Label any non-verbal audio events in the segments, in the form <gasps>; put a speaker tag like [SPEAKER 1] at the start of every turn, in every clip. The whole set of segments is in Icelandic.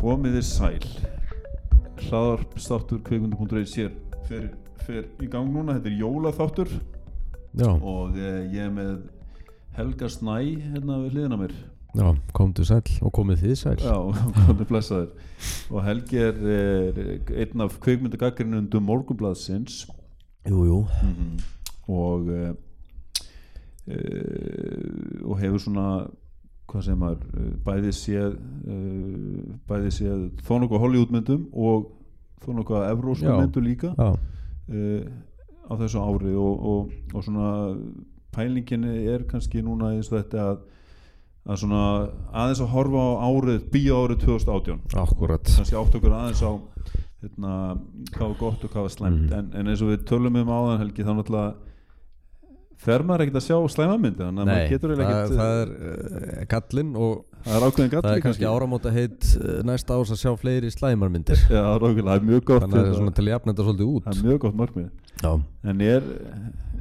[SPEAKER 1] Komið þið sæl Hlaðarpstáttur kveikmyndu.reis hér fer, fer í gang núna, þetta er jólaþáttur
[SPEAKER 2] Já,
[SPEAKER 1] og eh, ég er með Helga Snæ hérna við hliðina á mér
[SPEAKER 2] já, komdu sæll og komið þið sæll
[SPEAKER 1] Já, <laughs> komið blessaður og Helgi er, er einn af kveikmyndagagrinundum morgunblaðsins
[SPEAKER 2] Jú, jú
[SPEAKER 1] og uh, uh, og hefur svona hvað segir maður, eh, bæði séð uh, bæði séð þó nokkuð Hollywoodmyndum og þó nokkuð Evrósmyndu líka
[SPEAKER 2] Já,
[SPEAKER 1] uh, á þessu ári og, og, og svona pælingin er kannski núna eins og þetta að, að svona aðeins að horfa á árið bíó árið 2018
[SPEAKER 2] akkurat
[SPEAKER 1] kannski átt okkur aðeins á hérna, hvað var gott og hvað var slæmt
[SPEAKER 2] Mhm.
[SPEAKER 1] en, en eins og við tölum um áðan helgi þá náttúrulega fer maður ekkert að sjá slæmamyndi þannig að maður getur eiginlega
[SPEAKER 2] það,
[SPEAKER 1] ekkert eh,
[SPEAKER 2] það er uh, kallinn og
[SPEAKER 1] það er ákveðin
[SPEAKER 2] það
[SPEAKER 1] galli
[SPEAKER 2] er kannski áramóta heitt næsta ás að sjá fleiri
[SPEAKER 1] <laughs>
[SPEAKER 2] slæmarmyndir
[SPEAKER 1] Já, það er ákveðin, það er mjög gott
[SPEAKER 2] Þannig að það er
[SPEAKER 1] hérna.
[SPEAKER 2] svona til að jafna þetta svolítið út
[SPEAKER 1] það er mjög gott markmið
[SPEAKER 2] Já,
[SPEAKER 1] en ég er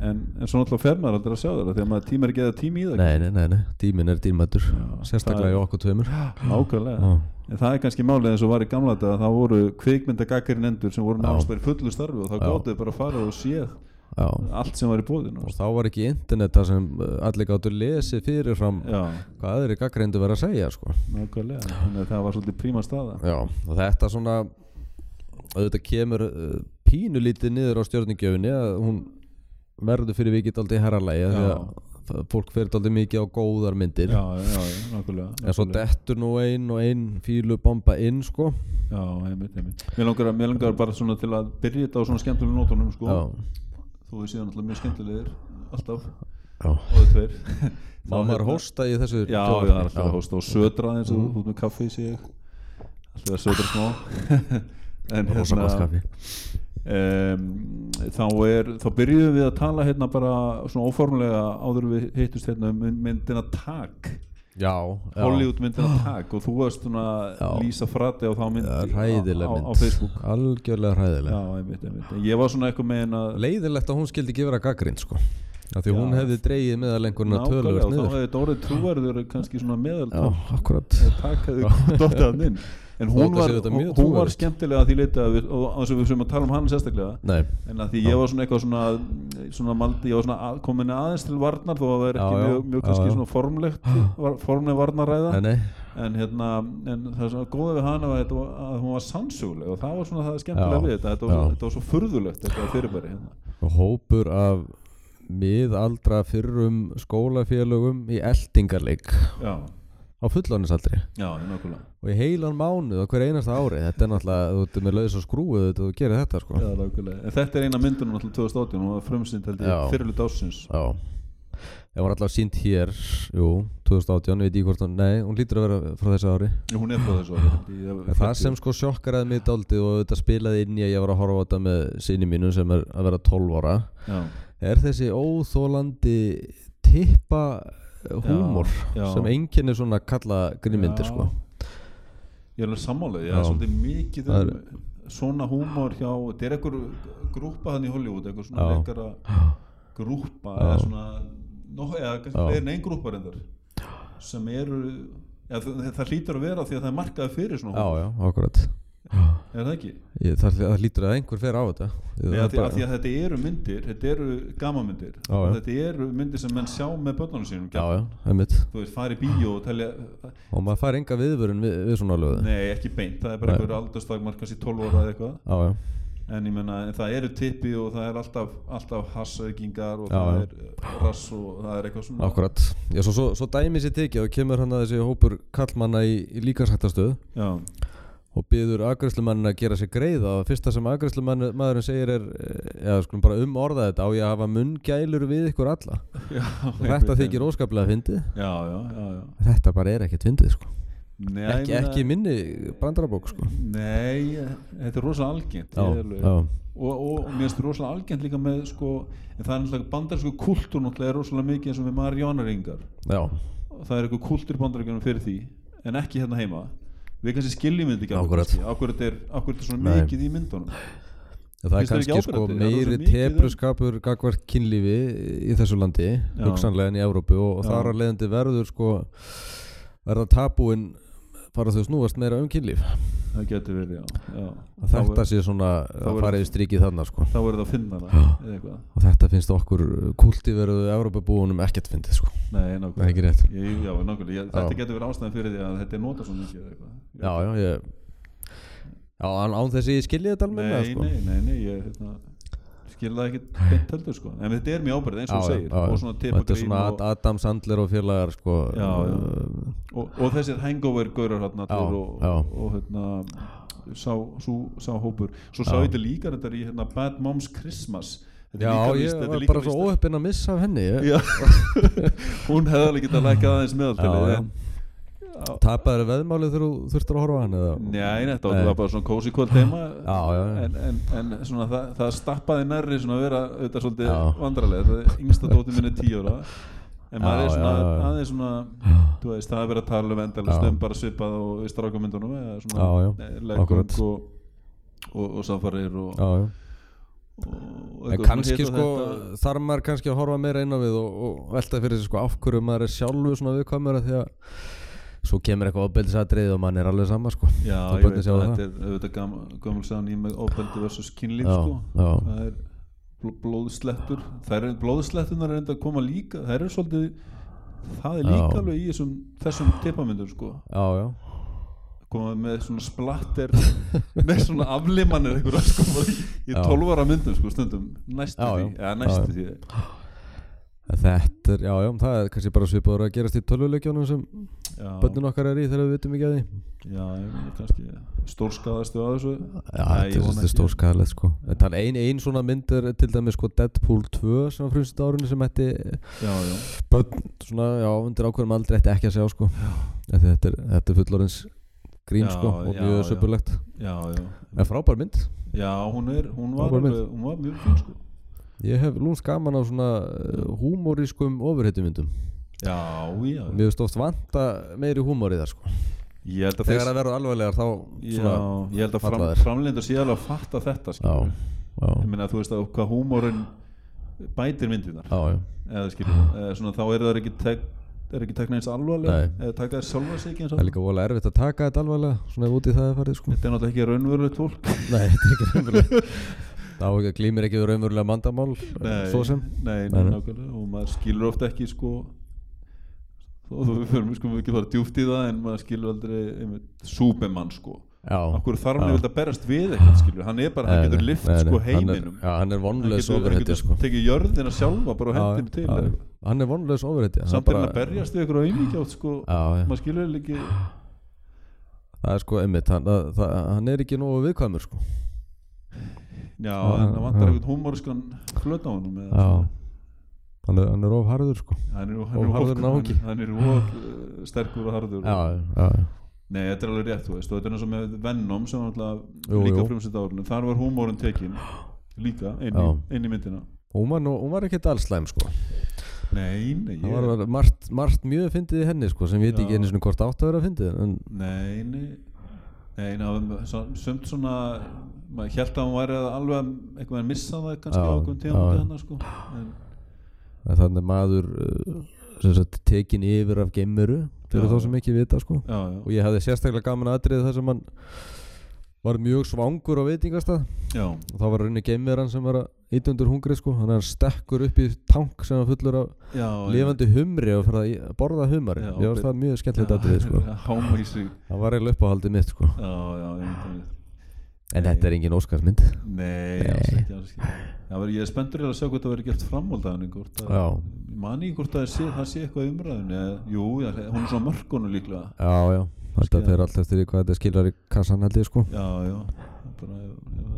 [SPEAKER 1] en, en svo náttúrulega fer maður aldrei að sjá það þegar maður tímar ekki eða tími í það
[SPEAKER 2] nei, nei, nei, nei, tíminn er dýrmættur
[SPEAKER 1] það
[SPEAKER 2] Sérstaklega
[SPEAKER 1] er-
[SPEAKER 2] í okkur tveimur Já,
[SPEAKER 1] ákveðlega En það er kannski málið eins og var í gamla dag þá voru kvikmyndagakarinnendur sem voru
[SPEAKER 2] Já.
[SPEAKER 1] náttúrulega í fullu starfi og þá
[SPEAKER 2] Já.
[SPEAKER 1] gótið bara að fara og séð
[SPEAKER 2] já
[SPEAKER 1] allt sem var í bóðinu
[SPEAKER 2] Og þá var ekki internet það sem uh, allir gáttu lesið fyrirfram
[SPEAKER 1] Já,
[SPEAKER 2] hvað aðri gaggreindu verið að segja sko.
[SPEAKER 1] nákvæmlega Þannig að það var svolítið príma staða
[SPEAKER 2] Já, og þetta svona auðvitað kemur uh, pínulítið niður á stjórningjöfunni að hún verður fyrir vikið aldrei herralægi því
[SPEAKER 1] Já.
[SPEAKER 2] að f- fólk fyrir aldrei mikið á góðar myndir
[SPEAKER 1] Já, já, já, nákvæmlega
[SPEAKER 2] en svo
[SPEAKER 1] nákvæmlega.
[SPEAKER 2] dettur nú ein og ein fílubomba inn sko
[SPEAKER 1] Já, einmitt, einmitt Mér langar, að- mér langar bara svona til að byrja þetta á svona skemmtilegum nótunum sko
[SPEAKER 2] Já,
[SPEAKER 1] Þó við séum alltaf mjög skemmtilegir Alltaf,
[SPEAKER 2] já
[SPEAKER 1] og tveir
[SPEAKER 2] <laughs> Má maður hósta í þessu
[SPEAKER 1] Já, já, það er alltaf að hósta og södra eins og mm. út með kaffi sé ég Alltaf að södra smá <laughs> En hérna
[SPEAKER 2] Rosa gott kaffi
[SPEAKER 1] um, þá, er, þá byrjuðum við að tala hérna bara svona óformlega áður en við hittust hérna um mynd- myndina Tag
[SPEAKER 2] Já, já
[SPEAKER 1] Hollywood
[SPEAKER 2] <gasps>
[SPEAKER 1] myndina Tag og þú varst svona
[SPEAKER 2] Já.
[SPEAKER 1] Lísa Frati á þá mynd
[SPEAKER 2] Það er <laughs>
[SPEAKER 1] á, á,
[SPEAKER 2] Hræðileg
[SPEAKER 1] á
[SPEAKER 2] mynd
[SPEAKER 1] Facebook
[SPEAKER 2] Algjörlega
[SPEAKER 1] Já,
[SPEAKER 2] hræðileg
[SPEAKER 1] einmitt, einmitt. En Ég var svona eitthvað með hérna
[SPEAKER 2] Leiðilegt að hún skildi ekki vera gaggrind sko Af Því
[SPEAKER 1] Já.
[SPEAKER 2] hún hefði dreigið meðalengurinn að
[SPEAKER 1] nákvæmlega
[SPEAKER 2] töluvert
[SPEAKER 1] og þá
[SPEAKER 2] niður
[SPEAKER 1] hefði Dórið trúverður kannski svona meðal
[SPEAKER 2] Já, akkurat
[SPEAKER 1] Tag
[SPEAKER 2] <laughs>
[SPEAKER 1] hefði dottið hann inn En hún
[SPEAKER 2] Þótt að
[SPEAKER 1] var,
[SPEAKER 2] sé þetta mjög
[SPEAKER 1] hún var
[SPEAKER 2] trúverðugt.
[SPEAKER 1] skemmtilega að því leita að við, og þess að við sem að tala um hann sérstaklega
[SPEAKER 2] Nei
[SPEAKER 1] En að því ég var svona eitthvað svona, svona maldi, ég var svona að, komin aðeins til varnar þó að það er ekki
[SPEAKER 2] Já, já,
[SPEAKER 1] mjög, mjög
[SPEAKER 2] já,
[SPEAKER 1] kannski
[SPEAKER 2] já.
[SPEAKER 1] svona formlegt,
[SPEAKER 2] <gasps>
[SPEAKER 1] var, formleg varnarræða
[SPEAKER 2] Nei,
[SPEAKER 1] en,
[SPEAKER 2] nei,
[SPEAKER 1] hérna, en það svona góða við hana var þetta var- að hún var sannsugleg og það var svona það skemmtilega
[SPEAKER 2] Já,
[SPEAKER 1] við þetta, þetta var, svo,
[SPEAKER 2] já.
[SPEAKER 1] þetta var svo furðulegt þetta fyrirbæri hérna.
[SPEAKER 2] Og hópur af miðaldra fyrrum skólafélögum í eldingarleik
[SPEAKER 1] Já,
[SPEAKER 2] á fullónisaldri
[SPEAKER 1] já, nákvæmlega,
[SPEAKER 2] og í heilan mánuð á hver einasta ári þetta er náttúrulega, þú ert með laus og skrúið þú gerir þetta sko
[SPEAKER 1] já, nákvæmlega. En þetta er eina myndunum alltaf 2018 og hún var frumsýnd held
[SPEAKER 2] Já.
[SPEAKER 1] ég fyrirlut ásins.
[SPEAKER 2] Já Það var allavega sínt hér, jú, 2018, veit ég hvort hún, nei, hún lítur að vera frá þessu ári
[SPEAKER 1] Já, Hún er frá þessu ári. held ég, ég-
[SPEAKER 2] En það sem sko sjokkaraði mig daldið og þetta spilaði inn í að ég var að horfa á þetta með sinni mínum sem er að vera 12 ára
[SPEAKER 1] Já,
[SPEAKER 2] er þessi óþólandi tippa húmor
[SPEAKER 1] Já, já.
[SPEAKER 2] sem enginn er svona kalla
[SPEAKER 1] Já.
[SPEAKER 2] grímyndir sko
[SPEAKER 1] Ég er alveg sammálaðið, það er
[SPEAKER 2] Já.
[SPEAKER 1] svolítið mikið
[SPEAKER 2] Það
[SPEAKER 1] um svona húmor hjá, þetta er einhver grúpa þannig í Hollywood, einhver svona
[SPEAKER 2] Já.
[SPEAKER 1] leikara grúpa eða svona, no, eða kannski
[SPEAKER 2] Já.
[SPEAKER 1] fleiri en einn grúpa reyndar sem eru, eða, það, það hlýtur að vera því að það er markaði fyrir svona
[SPEAKER 2] Já,
[SPEAKER 1] húmor,
[SPEAKER 2] já, akkurat
[SPEAKER 1] er það ekki?
[SPEAKER 2] ég, það, það lítur að einhver fer á þetta Ég-
[SPEAKER 1] Nei,
[SPEAKER 2] það
[SPEAKER 1] af því,
[SPEAKER 2] bara-
[SPEAKER 1] af því að þetta eru myndir, þetta eru gamanmyndir
[SPEAKER 2] Já,
[SPEAKER 1] og
[SPEAKER 2] já.
[SPEAKER 1] þetta eru myndir sem menn sjá með börnunum sínum,
[SPEAKER 2] Já,
[SPEAKER 1] gjarnan.
[SPEAKER 2] já, einmitt
[SPEAKER 1] þú veist, fara í bíó og telja,
[SPEAKER 2] Og maður fær enga viðvörun við, við svona lögðu
[SPEAKER 1] nei ekki beint, það er bara
[SPEAKER 2] Nei.
[SPEAKER 1] einhver aldurstakmark, kannski 12 ára eða eitthvað
[SPEAKER 2] Já, já,
[SPEAKER 1] en ég menna það eru tippi og það er alltaf, alltaf hassaukingar og
[SPEAKER 2] Já,
[SPEAKER 1] það
[SPEAKER 2] já.
[SPEAKER 1] er eh, rass og það er eitthvað svona
[SPEAKER 2] akkurat Já, svo, svo, svo dæmi sér tekið og kemur hann að þessi hópur kallmanna í, í líkansættastöð
[SPEAKER 1] já,
[SPEAKER 2] <laughs> og byður agræslumannin að gera sér greiða og fyrsta sem agræslumaðurinn segir er eða skulum bara um orða þetta á ég að hafa munngælur við ykkur alla
[SPEAKER 1] já,
[SPEAKER 2] og þetta þykir óskaplega fyndið
[SPEAKER 1] já, já, já, já.
[SPEAKER 2] þetta bara er ekkert fyndið sko
[SPEAKER 1] Nei, ég
[SPEAKER 2] ekki,
[SPEAKER 1] meina-
[SPEAKER 2] ekki minni brandarabók sko
[SPEAKER 1] nei, eh, þetta er rosalega algengt
[SPEAKER 2] já,
[SPEAKER 1] ég er alveg-
[SPEAKER 2] já,
[SPEAKER 1] og, og, og mér finnst rosalega algengt líka með sko, en það er náttúrulega bandarísku kultúr náttúrulega er rosalega mikið eins og með marjónaringar
[SPEAKER 2] já,
[SPEAKER 1] og það er eitthvað kultúr bandaríkjunum fyrir því en ekki hérna heima við kannski skiljum þetta ekki
[SPEAKER 2] Akkúrat.
[SPEAKER 1] akkurat er, akkurat er svona
[SPEAKER 2] Nei.
[SPEAKER 1] mikið í myndunum
[SPEAKER 2] En það er
[SPEAKER 1] Finnst þér ekki
[SPEAKER 2] kannski sko
[SPEAKER 1] áberandi? Það er svo
[SPEAKER 2] meiri
[SPEAKER 1] mikið um-
[SPEAKER 2] tebruskapur gagvart kynlífi í þessu landi
[SPEAKER 1] Já.
[SPEAKER 2] hugsanlega en í Evrópu og, og
[SPEAKER 1] Já.
[SPEAKER 2] þar að leiðandi verður sko verða tabúin fara þau snúast meira um kynlíf
[SPEAKER 1] það getur verið, já, já.
[SPEAKER 2] að
[SPEAKER 1] Þá
[SPEAKER 2] þetta
[SPEAKER 1] er-
[SPEAKER 2] sé svona
[SPEAKER 1] er-
[SPEAKER 2] að fara yfir strikið þarna sko
[SPEAKER 1] þá verður það að finna það
[SPEAKER 2] Já.
[SPEAKER 1] eða eitthvað,
[SPEAKER 2] og þetta finnst okkur kultiveruðu Evropabúunum ekkert fyndið sko,
[SPEAKER 1] nei,
[SPEAKER 2] það er
[SPEAKER 1] nákvæmlega
[SPEAKER 2] ekki rétt
[SPEAKER 1] Ég- já, nákvæmlega, ég,
[SPEAKER 2] Já.
[SPEAKER 1] þetta getur verið ástæðan fyrir því að þetta er notað svo mikið eða eitthvað
[SPEAKER 2] já, já, ég já, án án þess að ég skilji þetta almenna
[SPEAKER 1] nei,
[SPEAKER 2] sko.
[SPEAKER 1] nei, nei, nei, ég hérna, skil það ekki beint heldur sko en þetta er mjög ábyrð eins og þú
[SPEAKER 2] Já, já,
[SPEAKER 1] segir
[SPEAKER 2] já, já.
[SPEAKER 1] og svona
[SPEAKER 2] þetta er
[SPEAKER 1] tippagrín
[SPEAKER 2] svona
[SPEAKER 1] og,
[SPEAKER 2] Ad- Adam Sandler og félagar sko
[SPEAKER 1] Já, já.
[SPEAKER 2] uh,
[SPEAKER 1] og, og þessir hangover gaurar hérna
[SPEAKER 2] Já,
[SPEAKER 1] allir og,
[SPEAKER 2] já.
[SPEAKER 1] og hérna sá, sú, sá hópur svo sá
[SPEAKER 2] Já.
[SPEAKER 1] ég þetta líka þetta í hérna Bad Moms Christmas þetta
[SPEAKER 2] já,
[SPEAKER 1] er líka
[SPEAKER 2] ég
[SPEAKER 1] víst, þetta
[SPEAKER 2] var
[SPEAKER 1] er
[SPEAKER 2] bara
[SPEAKER 1] líka
[SPEAKER 2] svo
[SPEAKER 1] víst
[SPEAKER 2] óöppinn að missa af henni ég.
[SPEAKER 1] Já. <laughs> hún hefði alveg getað lækkað aðeins meðaltalið
[SPEAKER 2] já,
[SPEAKER 1] en-
[SPEAKER 2] já. tapaður veðmáli þegar þú þurftur að horfa á hann eða
[SPEAKER 1] Nei, þetta
[SPEAKER 2] Nei.
[SPEAKER 1] var bara svona cozy kvöld heima
[SPEAKER 2] Eh. Já, já, já.
[SPEAKER 1] En, en, en svona það, það stappaði nærri svona að vera auðvitað svolítið
[SPEAKER 2] Já.
[SPEAKER 1] vandralega það er yngsta dótið minni tíu ára en maður
[SPEAKER 2] Já,
[SPEAKER 1] er svona,
[SPEAKER 2] já, já.
[SPEAKER 1] aðeins svona þú veist, það er verið að tala um endalist
[SPEAKER 2] Já.
[SPEAKER 1] um bara svipað og í strákumyndunum eða svona
[SPEAKER 2] Já, já,
[SPEAKER 1] eh,
[SPEAKER 2] akkurat.
[SPEAKER 1] leggöng og, og, og safarir og,
[SPEAKER 2] já, já
[SPEAKER 1] og, og
[SPEAKER 2] En
[SPEAKER 1] eitthvað
[SPEAKER 2] kannski
[SPEAKER 1] hitt og
[SPEAKER 2] sko,
[SPEAKER 1] um þetta.
[SPEAKER 2] þarf maður kannski að horfa meira inn á við og, og velta fyrir sig sko af hverju maður er sjálfu svona viðkvæmur af því að svo kemur eitthvað ábeldisatrið og mann er alveg sama sko
[SPEAKER 1] Já,
[SPEAKER 2] Þó
[SPEAKER 1] ég
[SPEAKER 2] börnin
[SPEAKER 1] veit
[SPEAKER 2] sjá
[SPEAKER 1] að
[SPEAKER 2] það.
[SPEAKER 1] þetta er auðvitað gam- gömul sæðan í með ofbeldi versus kynlíf
[SPEAKER 2] Já,
[SPEAKER 1] sko.
[SPEAKER 2] já.
[SPEAKER 1] það er bl- blóðslettur það er blóðslettunar er enda að koma líka það er svolítið það er líka
[SPEAKER 2] Já.
[SPEAKER 1] alveg í þessum, þessum tippamyndum sko.
[SPEAKER 2] Já, já,
[SPEAKER 1] koma með svona splatter <laughs> með svona aflimanir einhverja sko, bara í- í
[SPEAKER 2] Já.
[SPEAKER 1] tólvara myndum sko, stundum næstu
[SPEAKER 2] Já, já.
[SPEAKER 1] því, eða næstu
[SPEAKER 2] Já,
[SPEAKER 1] því
[SPEAKER 2] En þetta er, já, já, það er kannski bara svipaður að gerast í tölvuleikjónum sem
[SPEAKER 1] já,
[SPEAKER 2] börnin okkar er í þegar við vitum ekki að því Já,
[SPEAKER 1] já, ég meina kannski stórskaðastu að þessu Nei, ég
[SPEAKER 2] þetta er,
[SPEAKER 1] vona
[SPEAKER 2] þetta er
[SPEAKER 1] ekki.
[SPEAKER 2] stórskaðalegt sko En það er ein, ein svona mynd er til dæmis sko Deadpool 2 sem var frumst árunni sem hætti
[SPEAKER 1] já, já,
[SPEAKER 2] börn svona, já, undir ákveðum aldrei ætti ekki að segja sko Af því Þetta er, þetta er fullorins grín
[SPEAKER 1] Já,
[SPEAKER 2] sko og
[SPEAKER 1] já,
[SPEAKER 2] mjög
[SPEAKER 1] já.
[SPEAKER 2] söpulegt
[SPEAKER 1] já, já.
[SPEAKER 2] En frábær mynd
[SPEAKER 1] já hún, er, hún, var
[SPEAKER 2] Frábær mynd.
[SPEAKER 1] alveg, hún var mjög fín sko.
[SPEAKER 2] Ég hef lúns gaman á svona uh, húmóriskum ofurheitumyndum
[SPEAKER 1] já, já, já
[SPEAKER 2] Mér veist oft vanta meiri húmórið þar sko
[SPEAKER 1] Ég held að
[SPEAKER 2] Þegar
[SPEAKER 1] þeir
[SPEAKER 2] það verður alveglegar þá
[SPEAKER 1] Já,
[SPEAKER 2] svona,
[SPEAKER 1] ég held að fram,
[SPEAKER 2] falla þér.
[SPEAKER 1] framlendur sé alveg að fatta þetta
[SPEAKER 2] Já,
[SPEAKER 1] skilur.
[SPEAKER 2] já,
[SPEAKER 1] Ég meina þú veist að hvað húmórinn bætir myndunar
[SPEAKER 2] já, já.
[SPEAKER 1] eða skilur, eða svona, þá eru það ekki tek, er ekki tekna eins alvarlega
[SPEAKER 2] Nei.
[SPEAKER 1] eða taka þér sjálfa sig ekki eins
[SPEAKER 2] Það er
[SPEAKER 1] alvarlega
[SPEAKER 2] líka vola erfitt að taka þetta alvarlega Svona ef út í það er farið sko
[SPEAKER 1] Þetta er náttúrulega ekki raunverulegt fólk
[SPEAKER 2] Nei, þetta er ekki raunverulega Þá glýmir ekki við raunverulega mandamál
[SPEAKER 1] Nei,
[SPEAKER 2] Svo sem
[SPEAKER 1] Nei, nei,
[SPEAKER 2] Nei, nei.
[SPEAKER 1] nákvæmlega og maður skilur ofta ekki sko þó þú við förum sko ekki fara djúpt í það en maður skilur aldrei einmitt Superman sko
[SPEAKER 2] Já
[SPEAKER 1] Akkur þarf
[SPEAKER 2] já.
[SPEAKER 1] hann að berast við eitthvað skilur hann er bara, hann
[SPEAKER 2] Nei,
[SPEAKER 1] getur
[SPEAKER 2] nei,
[SPEAKER 1] lift
[SPEAKER 2] nei, nei.
[SPEAKER 1] sko
[SPEAKER 2] Hann er-
[SPEAKER 1] heiminum
[SPEAKER 2] Já, hann er vonlaus
[SPEAKER 1] hann getur, hann
[SPEAKER 2] ofurheiti
[SPEAKER 1] getur
[SPEAKER 2] sko
[SPEAKER 1] tekið jörðina sjálfa bara og
[SPEAKER 2] Já,
[SPEAKER 1] hendin til
[SPEAKER 2] já,
[SPEAKER 1] já,
[SPEAKER 2] Hann er vonlaus ofurheiti hann
[SPEAKER 1] samt er hann
[SPEAKER 2] bara-
[SPEAKER 1] að berjast við ykkur á ymingjátt sko,
[SPEAKER 2] Já, já
[SPEAKER 1] maður skilur eiginlega ekki
[SPEAKER 2] Það er sko einmitt Hann, það, það, hann er ekki nógu viðkvæmur sko
[SPEAKER 1] já,
[SPEAKER 2] Já,
[SPEAKER 1] en það vantar
[SPEAKER 2] já.
[SPEAKER 1] eitthvað humoriskan flöt á honum eða
[SPEAKER 2] Já
[SPEAKER 1] svona.
[SPEAKER 2] Hann er, hann er of harður sko
[SPEAKER 1] hann er,
[SPEAKER 2] Og
[SPEAKER 1] hann er,
[SPEAKER 2] harður
[SPEAKER 1] of-
[SPEAKER 2] náungi.
[SPEAKER 1] hann, hann er of uh, sterkur og harður
[SPEAKER 2] Já, já, já
[SPEAKER 1] nei, þetta er alveg rétt þú veist og þetta er eins og með Venom sem var alltaf
[SPEAKER 2] Jú,
[SPEAKER 1] líka
[SPEAKER 2] jú.
[SPEAKER 1] frumsett árunum þar var humorinn tekin líka inn í,
[SPEAKER 2] Já.
[SPEAKER 1] inn í myndina
[SPEAKER 2] Hún var, nú, hún var ekkert alls slæm sko
[SPEAKER 1] nei, nei,
[SPEAKER 2] Það
[SPEAKER 1] ég,
[SPEAKER 2] var var margt, margt mjög fyndið í henni sko sem við veit
[SPEAKER 1] Já.
[SPEAKER 2] ekki einu svona hvort átt að vera fyndið en
[SPEAKER 1] nei, nei Nei, ná, sumt svona maður held að hún væri að alveg eitthvað að missa það kannski
[SPEAKER 2] Já,
[SPEAKER 1] á okkur
[SPEAKER 2] já,
[SPEAKER 1] tíma
[SPEAKER 2] já.
[SPEAKER 1] hann sko. en,
[SPEAKER 2] en þannig er maður uh, sem sagt tekin yfir af geimuru fyrir
[SPEAKER 1] Já.
[SPEAKER 2] þá sem ekki vita sko
[SPEAKER 1] já, já,
[SPEAKER 2] og ég hefði sérstaklega gaman aðrið þar sem hann var mjög svangur á veitingastað
[SPEAKER 1] já,
[SPEAKER 2] og þá var rauninni geimveran sem var að ýta undir hungri sko þannig að hann stekkur upp í tank sem var fullur af
[SPEAKER 1] já
[SPEAKER 2] lifandi humri og fyrir að í- borða humari
[SPEAKER 1] Já,
[SPEAKER 2] ég varst það mjög
[SPEAKER 1] já,
[SPEAKER 2] skemmtilegt
[SPEAKER 1] <laughs>
[SPEAKER 2] aðrið sko
[SPEAKER 1] háma í sig
[SPEAKER 2] það var eiginlega uppáhaldið mitt sko
[SPEAKER 1] já, já, ég veit það
[SPEAKER 2] en þetta er engin óskarsmynd
[SPEAKER 1] nei,
[SPEAKER 2] Nei.
[SPEAKER 1] alls ekki, alls ekki já, veri, ég er spenntur eiginlega að sjá hvort það verið gert framhóldaðan hvort að,
[SPEAKER 2] já
[SPEAKER 1] Ég man ég hvort það sé, það sé eitthvað í umræðinu eða, jú, já, hún er svona mörkonu líklega
[SPEAKER 2] Já, já, þetta
[SPEAKER 1] Skilja.
[SPEAKER 2] fer allt eftir því hvað þetta skilar í kassan held ég sko
[SPEAKER 1] já, já bara, já,